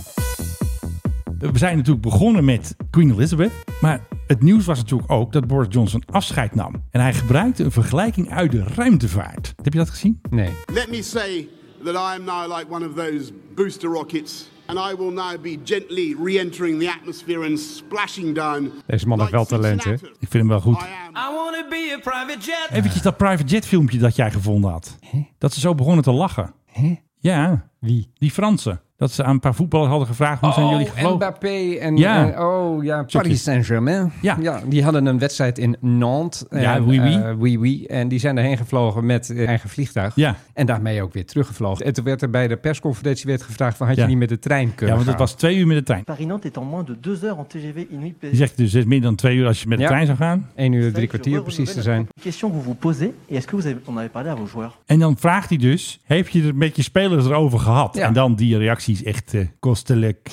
Speaker 2: We zijn natuurlijk begonnen met Queen Elizabeth. Maar het nieuws was natuurlijk ook dat Boris Johnson afscheid nam. En hij gebruikte een vergelijking uit de ruimtevaart. Heb je dat gezien?
Speaker 3: Nee.
Speaker 12: Let me say that I am now like one of those booster rockets, and I will now be gently re entering the atmosphere and splashing down.
Speaker 3: Deze man heeft wel talent, hè?
Speaker 2: Ik vind hem wel goed.
Speaker 5: I wanna be a private jet.
Speaker 2: Eventjes dat private jet filmpje dat jij gevonden had. Dat ze zo begonnen te lachen.
Speaker 3: Hè?
Speaker 2: Ja,
Speaker 3: Wie?
Speaker 2: die Fransen. Dat ze aan een paar voetballers hadden gevraagd, hoe zijn
Speaker 3: Oh,
Speaker 2: jullie gevlogen?
Speaker 3: Mbappé en,
Speaker 2: Ja.
Speaker 3: en- oh ja,
Speaker 2: Zoiets.
Speaker 3: Paris Saint-Germain.
Speaker 2: Ja.
Speaker 3: die hadden een wedstrijd in Nantes.
Speaker 2: Ja,
Speaker 3: En,
Speaker 2: oui, oui.
Speaker 3: eh, oui, oui. En die zijn erheen gevlogen met eh, eigen vliegtuig.
Speaker 2: Ja.
Speaker 3: En daarmee ook weer teruggevlogen. En toen werd er bij de persconferentie werd gevraagd van, had
Speaker 2: Ja.
Speaker 3: je niet met de trein
Speaker 2: Ja,
Speaker 3: kunnen
Speaker 2: want het
Speaker 3: gaan?
Speaker 2: was twee uur met de trein.
Speaker 14: Paris-Nantes est en moins de 2 heures en TGV Inuit
Speaker 2: Je zegt dus het is meer dan twee uur als je met de
Speaker 14: Ja.
Speaker 2: trein zou gaan.
Speaker 3: 1 uur drie kwartier precies te zijn.
Speaker 14: Question que vous vous posez, et est-ce que vous avez, on avait parlé à vos joueurs
Speaker 2: En dan vraagt hij dus, heb je het met je spelers erover gehad? En dan die reacties echt eh,
Speaker 3: <laughs>
Speaker 2: kostelijk.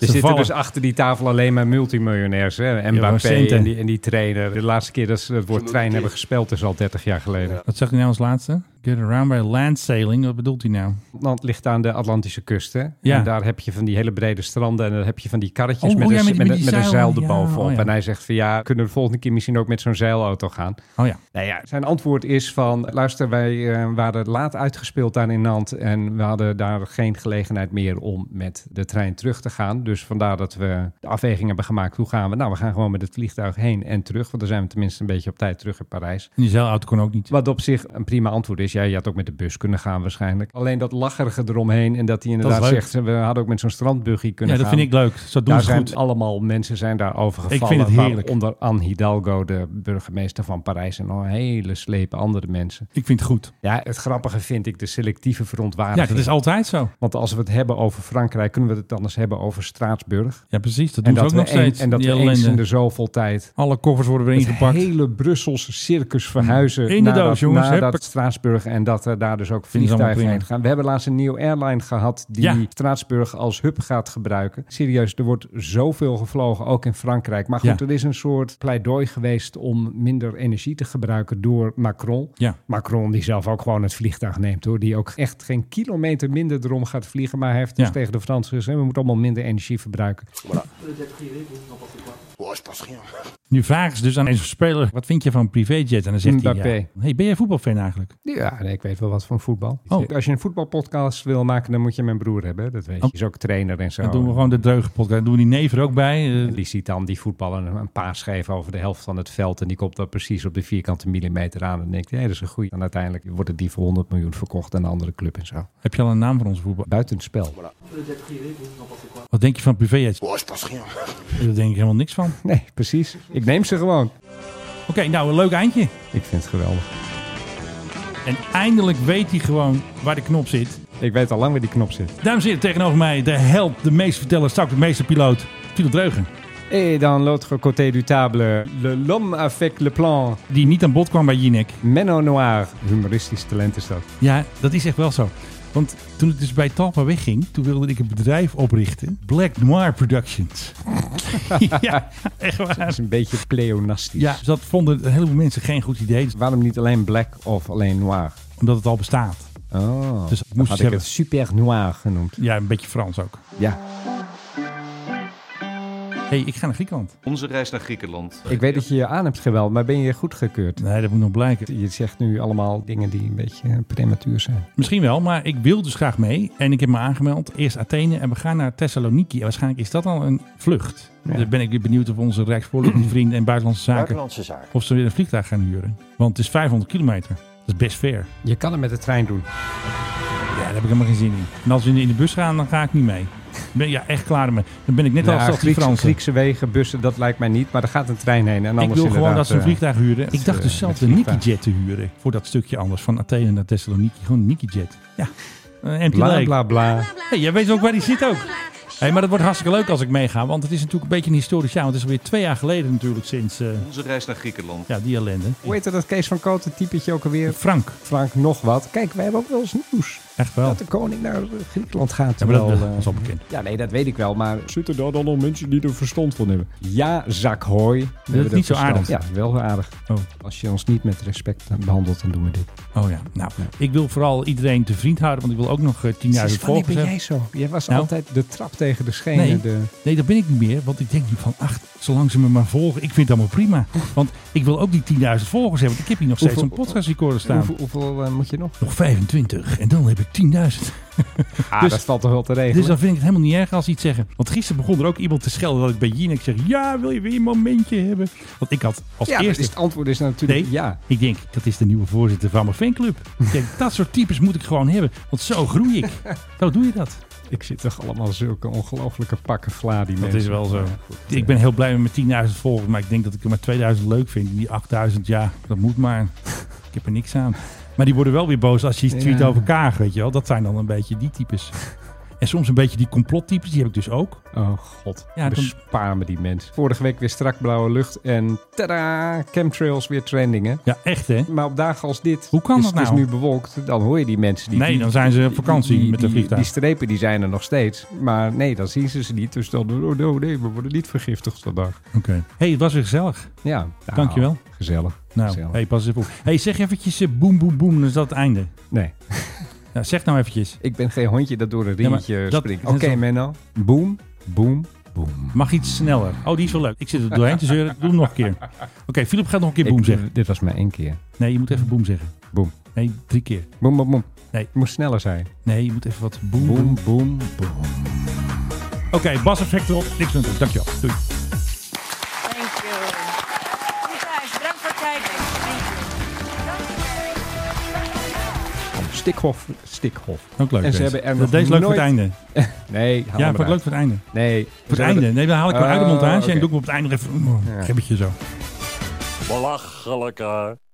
Speaker 3: Er zitten
Speaker 2: vallen.
Speaker 3: dus achter die tafel alleen maar multimiljonairs. Hè? En
Speaker 2: maar
Speaker 3: Mbappé
Speaker 2: centen.
Speaker 3: en die, en die trainer. De laatste keer dat ze het woord trein hebben gespeld is al 30 jaar geleden.
Speaker 2: Wat zag hij nou als laatste? Get around by land sailing. Wat bedoelt hij nou?
Speaker 3: Nederland ligt aan de Atlantische kust. Hè?
Speaker 2: Ja.
Speaker 3: En daar heb je van die hele brede stranden. En dan heb je van die karretjes
Speaker 2: Oh,
Speaker 3: met,
Speaker 2: oh ja,
Speaker 3: een,
Speaker 2: met die-
Speaker 3: met,
Speaker 2: met
Speaker 3: een-
Speaker 2: die
Speaker 3: met een
Speaker 2: zeilen,
Speaker 3: zeil
Speaker 2: ja,
Speaker 3: erbovenop.
Speaker 2: oh ja.
Speaker 3: En hij zegt van ja, kunnen we de volgende keer misschien ook met zo'n zeilauto gaan.
Speaker 2: Oh ja.
Speaker 3: Nou ja, zijn antwoord is van... luister, wij eh, waren laat uitgespeeld daar in Nantes... en we hadden daar geen gelegenheid meer om met de trein terug te gaan. Dus vandaar dat we de afweging hebben gemaakt. Hoe gaan we? Nou, we gaan gewoon met het vliegtuig heen en terug... want dan zijn we tenminste een beetje op tijd terug in Parijs.
Speaker 2: En die zeilauto kon ook niet.
Speaker 3: Wat op zich een prima antwoord is. Ja, je had ook met de bus kunnen gaan waarschijnlijk. Alleen dat lacherige eromheen en dat hij inderdaad
Speaker 2: leuk.
Speaker 3: zegt... we hadden ook met zo'n strandbuggy kunnen
Speaker 2: Ja, dat
Speaker 3: gaan.
Speaker 2: vind ik leuk. Zo doen
Speaker 3: Daar
Speaker 2: ze
Speaker 3: zijn
Speaker 2: goed.
Speaker 3: allemaal mensen zijn daarover
Speaker 2: Ik vind
Speaker 3: gevallen.
Speaker 2: het heerlijk.
Speaker 3: Onder Anne Hidalgo, de burgemeester van Parijs... en nog een hele slepe andere mensen.
Speaker 2: Ik vind het goed.
Speaker 3: Ja, het grappige vind ik de selectieve
Speaker 2: Ja,
Speaker 3: verontwaardiging.
Speaker 2: dat is altijd zo.
Speaker 3: Want als we het hebben over Frankrijk... kunnen we het anders hebben over Straatsburg.
Speaker 2: Ja, precies. Dat
Speaker 3: en
Speaker 2: doen ze ook
Speaker 3: we
Speaker 2: nog
Speaker 3: een-
Speaker 2: steeds.
Speaker 3: En dat
Speaker 2: die
Speaker 3: we eens dus-
Speaker 2: ellende.
Speaker 3: in de zoveel tijd...
Speaker 2: Alle koffers worden weer
Speaker 3: Het
Speaker 2: ingepakt.
Speaker 3: hele Brusselse circus verhuizen
Speaker 2: In de
Speaker 3: naar
Speaker 2: doos,
Speaker 3: dat,
Speaker 2: Mm. jongens.
Speaker 3: naar
Speaker 2: Hup.
Speaker 3: dat Straatsburg en dat er daar dus ook
Speaker 2: ze allemaal
Speaker 3: vliegtuigen
Speaker 2: prima.
Speaker 3: heen gaan. We hebben laatst een nieuwe airline gehad die
Speaker 2: Ja.
Speaker 3: Straatsburg als hub gaat gebruiken. Serieus, er wordt zoveel gevlogen, ook in Frankrijk. Maar goed,
Speaker 2: Ja.
Speaker 3: er is een soort pleidooi geweest om minder energie te gebruiken door Macron.
Speaker 2: Ja.
Speaker 3: Macron die zelf ook gewoon het vliegtuig neemt hoor. Die ook echt geen kilometer minder erom gaat vliegen. Maar hij heeft dus
Speaker 2: Ja.
Speaker 3: tegen de Fransen gezegd, we moeten allemaal minder energie verbruiken.
Speaker 2: Nu vragen ze dus aan een speler, wat vind je van privéjet? En dan zegt hij, ja.
Speaker 3: Mbappé.
Speaker 2: hey, ben jij voetbalfan eigenlijk?
Speaker 3: Ja, nee, ik weet wel wat van voetbal.
Speaker 2: Oh.
Speaker 3: Als je een voetbalpodcast wil maken, dan moet je mijn broer hebben. Dat weet je. Hij
Speaker 2: Oh.
Speaker 3: is ook trainer en zo.
Speaker 2: Dan doen we gewoon de dreugen podcast. Dan doen we die neef er ook bij. Eh,
Speaker 3: Oh. En die ziet dan die voetballer een- een paas geven over de helft van het veld. En die komt dan precies op de vierkante millimeter aan. En denkt, hé, dat is een goeie. En uiteindelijk worden die voor 100 miljoen verkocht aan een andere club en zo.
Speaker 2: heb je al een naam voor onze voetbal?
Speaker 3: Buitenspel.
Speaker 2: Wat denk je van privéjet? Daar denk ik helemaal niks van.
Speaker 3: Nee, precies. Ik neem ze gewoon.
Speaker 2: Oké, nou, een leuk eindje.
Speaker 3: Ik vind het geweldig.
Speaker 2: En eindelijk weet hij gewoon waar de knop zit.
Speaker 3: Ik weet al lang waar die knop zit.
Speaker 2: Dames en heren, tegenover mij de held, de meesterverteller, straks de meesterpiloot, Philip Dreugen.
Speaker 3: Et Eh, dans l'autre côté du table, le- l'homme avec le plan.
Speaker 2: Die niet aan bod kwam bij Jinek.
Speaker 3: Menno Noir. Humoristisch talent is dat.
Speaker 2: Ja, dat is echt wel zo. Want toen ik dus bij Talpa wegging, toen wilde ik een bedrijf oprichten. Black Noir Productions. <laughs> ja, echt
Speaker 3: Dat
Speaker 2: waar.
Speaker 3: is een beetje pleonastisch.
Speaker 2: Ja, dus dat vonden een heleboel mensen geen goed idee,
Speaker 3: Waarom niet alleen black of alleen noir?
Speaker 2: omdat het al bestaat.
Speaker 3: Oh,
Speaker 2: Dus ik
Speaker 3: had
Speaker 2: moest het
Speaker 3: ik
Speaker 2: hebben.
Speaker 3: het super noir genoemd.
Speaker 2: Ja, een beetje Frans ook.
Speaker 3: Ja,
Speaker 2: hey, ik ga naar Griekenland.
Speaker 15: Onze reis naar Griekenland.
Speaker 3: ik weet dat je je aan hebt geweld, maar ben je goedgekeurd?
Speaker 2: Nee, dat moet nog blijken.
Speaker 3: Je zegt nu allemaal dingen die een beetje eh, prematuur zijn.
Speaker 2: Misschien wel, maar ik wil dus graag mee. En ik heb me aangemeld. Eerst Athene en we gaan naar Thessaloniki. En waarschijnlijk is dat al een vlucht.
Speaker 3: Ja.
Speaker 2: Dan ben ik weer benieuwd of onze
Speaker 3: <clears throat>
Speaker 2: Rijksvoorlichtingvrienden en Buitenlandse Zaken...
Speaker 15: Buitenlandse Zaken.
Speaker 2: Of ze weer een vliegtuig gaan huren. Want het is 500 kilometer. Dat is best ver.
Speaker 3: Je kan het met de trein doen.
Speaker 2: Ja, daar heb ik helemaal geen zin in. En als we in de bus gaan, dan ga ik niet mee. Dan Ben, ja, echt klaar ermee. Dan ben ik net
Speaker 3: Ja,
Speaker 2: als, als die
Speaker 3: Griekse,
Speaker 2: Fransen.
Speaker 3: Griekse wegen, bussen, dat lijkt mij niet. Maar er gaat een trein heen. En
Speaker 2: ik
Speaker 3: anders
Speaker 2: wil gewoon
Speaker 3: inderdaad,
Speaker 2: dat ze een
Speaker 3: eh,
Speaker 2: vliegtuig huren. Ik dacht
Speaker 3: eh,
Speaker 2: dus zelf
Speaker 3: met
Speaker 2: de
Speaker 3: vliegtuig.
Speaker 2: Niki-jet te huren. Voor dat stukje anders. Van Athene naar Thessaloniki. Gewoon een Niki-jet. Ja. Een empty
Speaker 3: Bla,
Speaker 2: leg.
Speaker 3: bla, bla.
Speaker 2: Hey, jij weet ook waar die zit ook. Hey, maar dat wordt hartstikke leuk als ik meega. Want het is natuurlijk een beetje een historisch jaar. Want het is alweer twee jaar geleden natuurlijk sinds eh,
Speaker 15: Onze reis naar Griekenland.
Speaker 2: ja, die ellende.
Speaker 3: Hoe heette dat Kees van Koten typetje ook alweer?
Speaker 2: Frank,
Speaker 3: Frank nog wat. Kijk, wij hebben ook wel eens nieuws.
Speaker 2: echt wel.
Speaker 3: Dat de koning naar eh, Griekenland gaat.
Speaker 2: Ja, maar dat,
Speaker 3: terwijl,
Speaker 2: <laughs> dat
Speaker 3: eh,
Speaker 2: is al bekend.
Speaker 3: Ja, nee, dat weet ik wel. Maar zitten daar dan nog mensen die er verstand van hebben? Ja, zak hooi. We hebben
Speaker 2: is
Speaker 3: er
Speaker 2: niet zo
Speaker 3: verstand.
Speaker 2: aardig.
Speaker 3: Ja, wel zo aardig.
Speaker 2: Oh.
Speaker 3: Als je ons niet met respect behandelt, dan doen we dit.
Speaker 2: Oh ja, nou, ik wil vooral iedereen te vriend houden, want ik wil ook nog eh, 10.000
Speaker 3: Sinds wanneer
Speaker 2: volgers
Speaker 3: ben jij
Speaker 2: hebben.
Speaker 3: zo? Jij was
Speaker 2: Nou.
Speaker 3: altijd de trap tegen de schenen.
Speaker 2: Nee.
Speaker 3: De...
Speaker 2: Nee, dat ben ik niet meer, want ik denk nu van, ach, zolang ze me maar volgen, ik vind het allemaal prima. Want ik wil ook die 10.000 volgers hebben, want ik heb hier nog steeds
Speaker 3: Hoeveel-
Speaker 2: een podcastrecorder staan.
Speaker 3: Hoeveel, hoeveel, eh, moet je nog?
Speaker 2: Nog 25 en dan heb ik over 10.000.
Speaker 3: Ah, dat valt toch wel te regelen.
Speaker 2: Dus dan vind ik het helemaal niet erg als ze iets zeggen. Want gisteren begon er ook iemand te schelden dat ik bij Jinek zeg... Ja, wil je weer een momentje hebben? Want ik had als
Speaker 3: Ja, dat
Speaker 2: eerste...
Speaker 3: is- het antwoord is natuurlijk
Speaker 2: Nee,
Speaker 3: ja.
Speaker 2: Ik denk, dat is de nieuwe voorzitter van mijn fanclub. ik denk, dat soort types moet ik gewoon hebben. Want zo groei
Speaker 3: <laughs>
Speaker 2: ik. zo doe je dat.
Speaker 3: Ik zit toch allemaal zulke ongelofelijke pakken vla die
Speaker 2: Dat
Speaker 3: mensen.
Speaker 2: is wel zo.
Speaker 3: Ja, goed, eh.
Speaker 2: ik ben heel blij met mijn 10.000 volgers. Maar ik denk dat ik er maar 2000 leuk vind. En Die 8000, ja, dat moet maar. ik heb er niks aan. Maar die worden wel weer boos als je iets tweet
Speaker 3: Ja.
Speaker 2: over Kaag, weet je wel. Dat zijn dan een beetje die types. En soms een beetje die complottypes, die heb ik dus ook.
Speaker 3: Oh god,
Speaker 2: Ja,
Speaker 3: ja,
Speaker 2: dan-
Speaker 3: bespaar me die mensen. Vorige week weer strak blauwe lucht en tada, chemtrails weer trending hè.
Speaker 2: Ja, echt hè.
Speaker 3: Maar op dagen als dit
Speaker 2: Hoe kan
Speaker 3: is,
Speaker 2: dat
Speaker 3: het
Speaker 2: nou?
Speaker 3: is nu bewolkt, dan hoor je die mensen die...
Speaker 2: Nee,
Speaker 3: die-
Speaker 2: dan zijn ze op vakantie
Speaker 3: die- die-
Speaker 2: met een vliegtuig.
Speaker 3: Die strepen die zijn er nog steeds, maar nee, dan zien ze ze niet. Dus dan, oh oh, nee, we worden niet vergiftigd vandaag.
Speaker 2: Oké. hey, het was weer gezellig.
Speaker 3: Ja, nou,
Speaker 2: Ah, Dankjewel.
Speaker 3: Gezellig.
Speaker 2: Nou,
Speaker 3: gezellig.
Speaker 2: hey, pas even op. hey, zeg eventjes eh, boem, boem, boem. Dan is dat het einde.
Speaker 3: Nee.
Speaker 2: Ja, zeg nou eventjes.
Speaker 3: Ik ben geen hondje dat door een
Speaker 2: Ja, maar
Speaker 3: rietje
Speaker 2: dat-
Speaker 3: springt.
Speaker 2: dat
Speaker 3: Oké,
Speaker 2: is wel-
Speaker 3: Menno. Boom, boom, boom.
Speaker 2: Mag iets sneller. Oh, die is wel leuk. Ik zit er doorheen te zeuren. Doe hem nog een keer. Oké, Philip gaat nog een keer boem
Speaker 3: Ik- eh,
Speaker 2: zeggen.
Speaker 3: Dit was maar één keer.
Speaker 2: Nee, je moet even boem zeggen.
Speaker 3: Boem.
Speaker 2: Nee, drie keer.
Speaker 3: Boom, boom, boom.
Speaker 2: Nee.
Speaker 3: Het moest sneller zijn.
Speaker 2: Nee, je moet even wat boem, boem.
Speaker 3: Boom, boem, boem.
Speaker 2: Oké, Bas effect erop. Niks aan doen. Dankjewel. Doei.
Speaker 16: Thank you. Goed, guys, bedankt voor het kijken. Thank
Speaker 3: Stikhof, Stikhof.
Speaker 2: Ook leuk
Speaker 3: En ze
Speaker 2: deze.
Speaker 3: hebben er
Speaker 2: Dat
Speaker 3: nog
Speaker 2: deze is leuk voor het
Speaker 3: nooit-
Speaker 2: einde.
Speaker 3: nee, haal
Speaker 2: ja,
Speaker 3: hem
Speaker 2: vond ik
Speaker 3: eruit.
Speaker 2: leuk voor het einde.
Speaker 3: Nee.
Speaker 2: Voor het einde. Nee, dan haal ik oh, hem uit de montage en doe ik hem op het einde nog even... Oh,
Speaker 3: Ja.
Speaker 2: Gebbetje zo.
Speaker 6: Belachelijk, hè?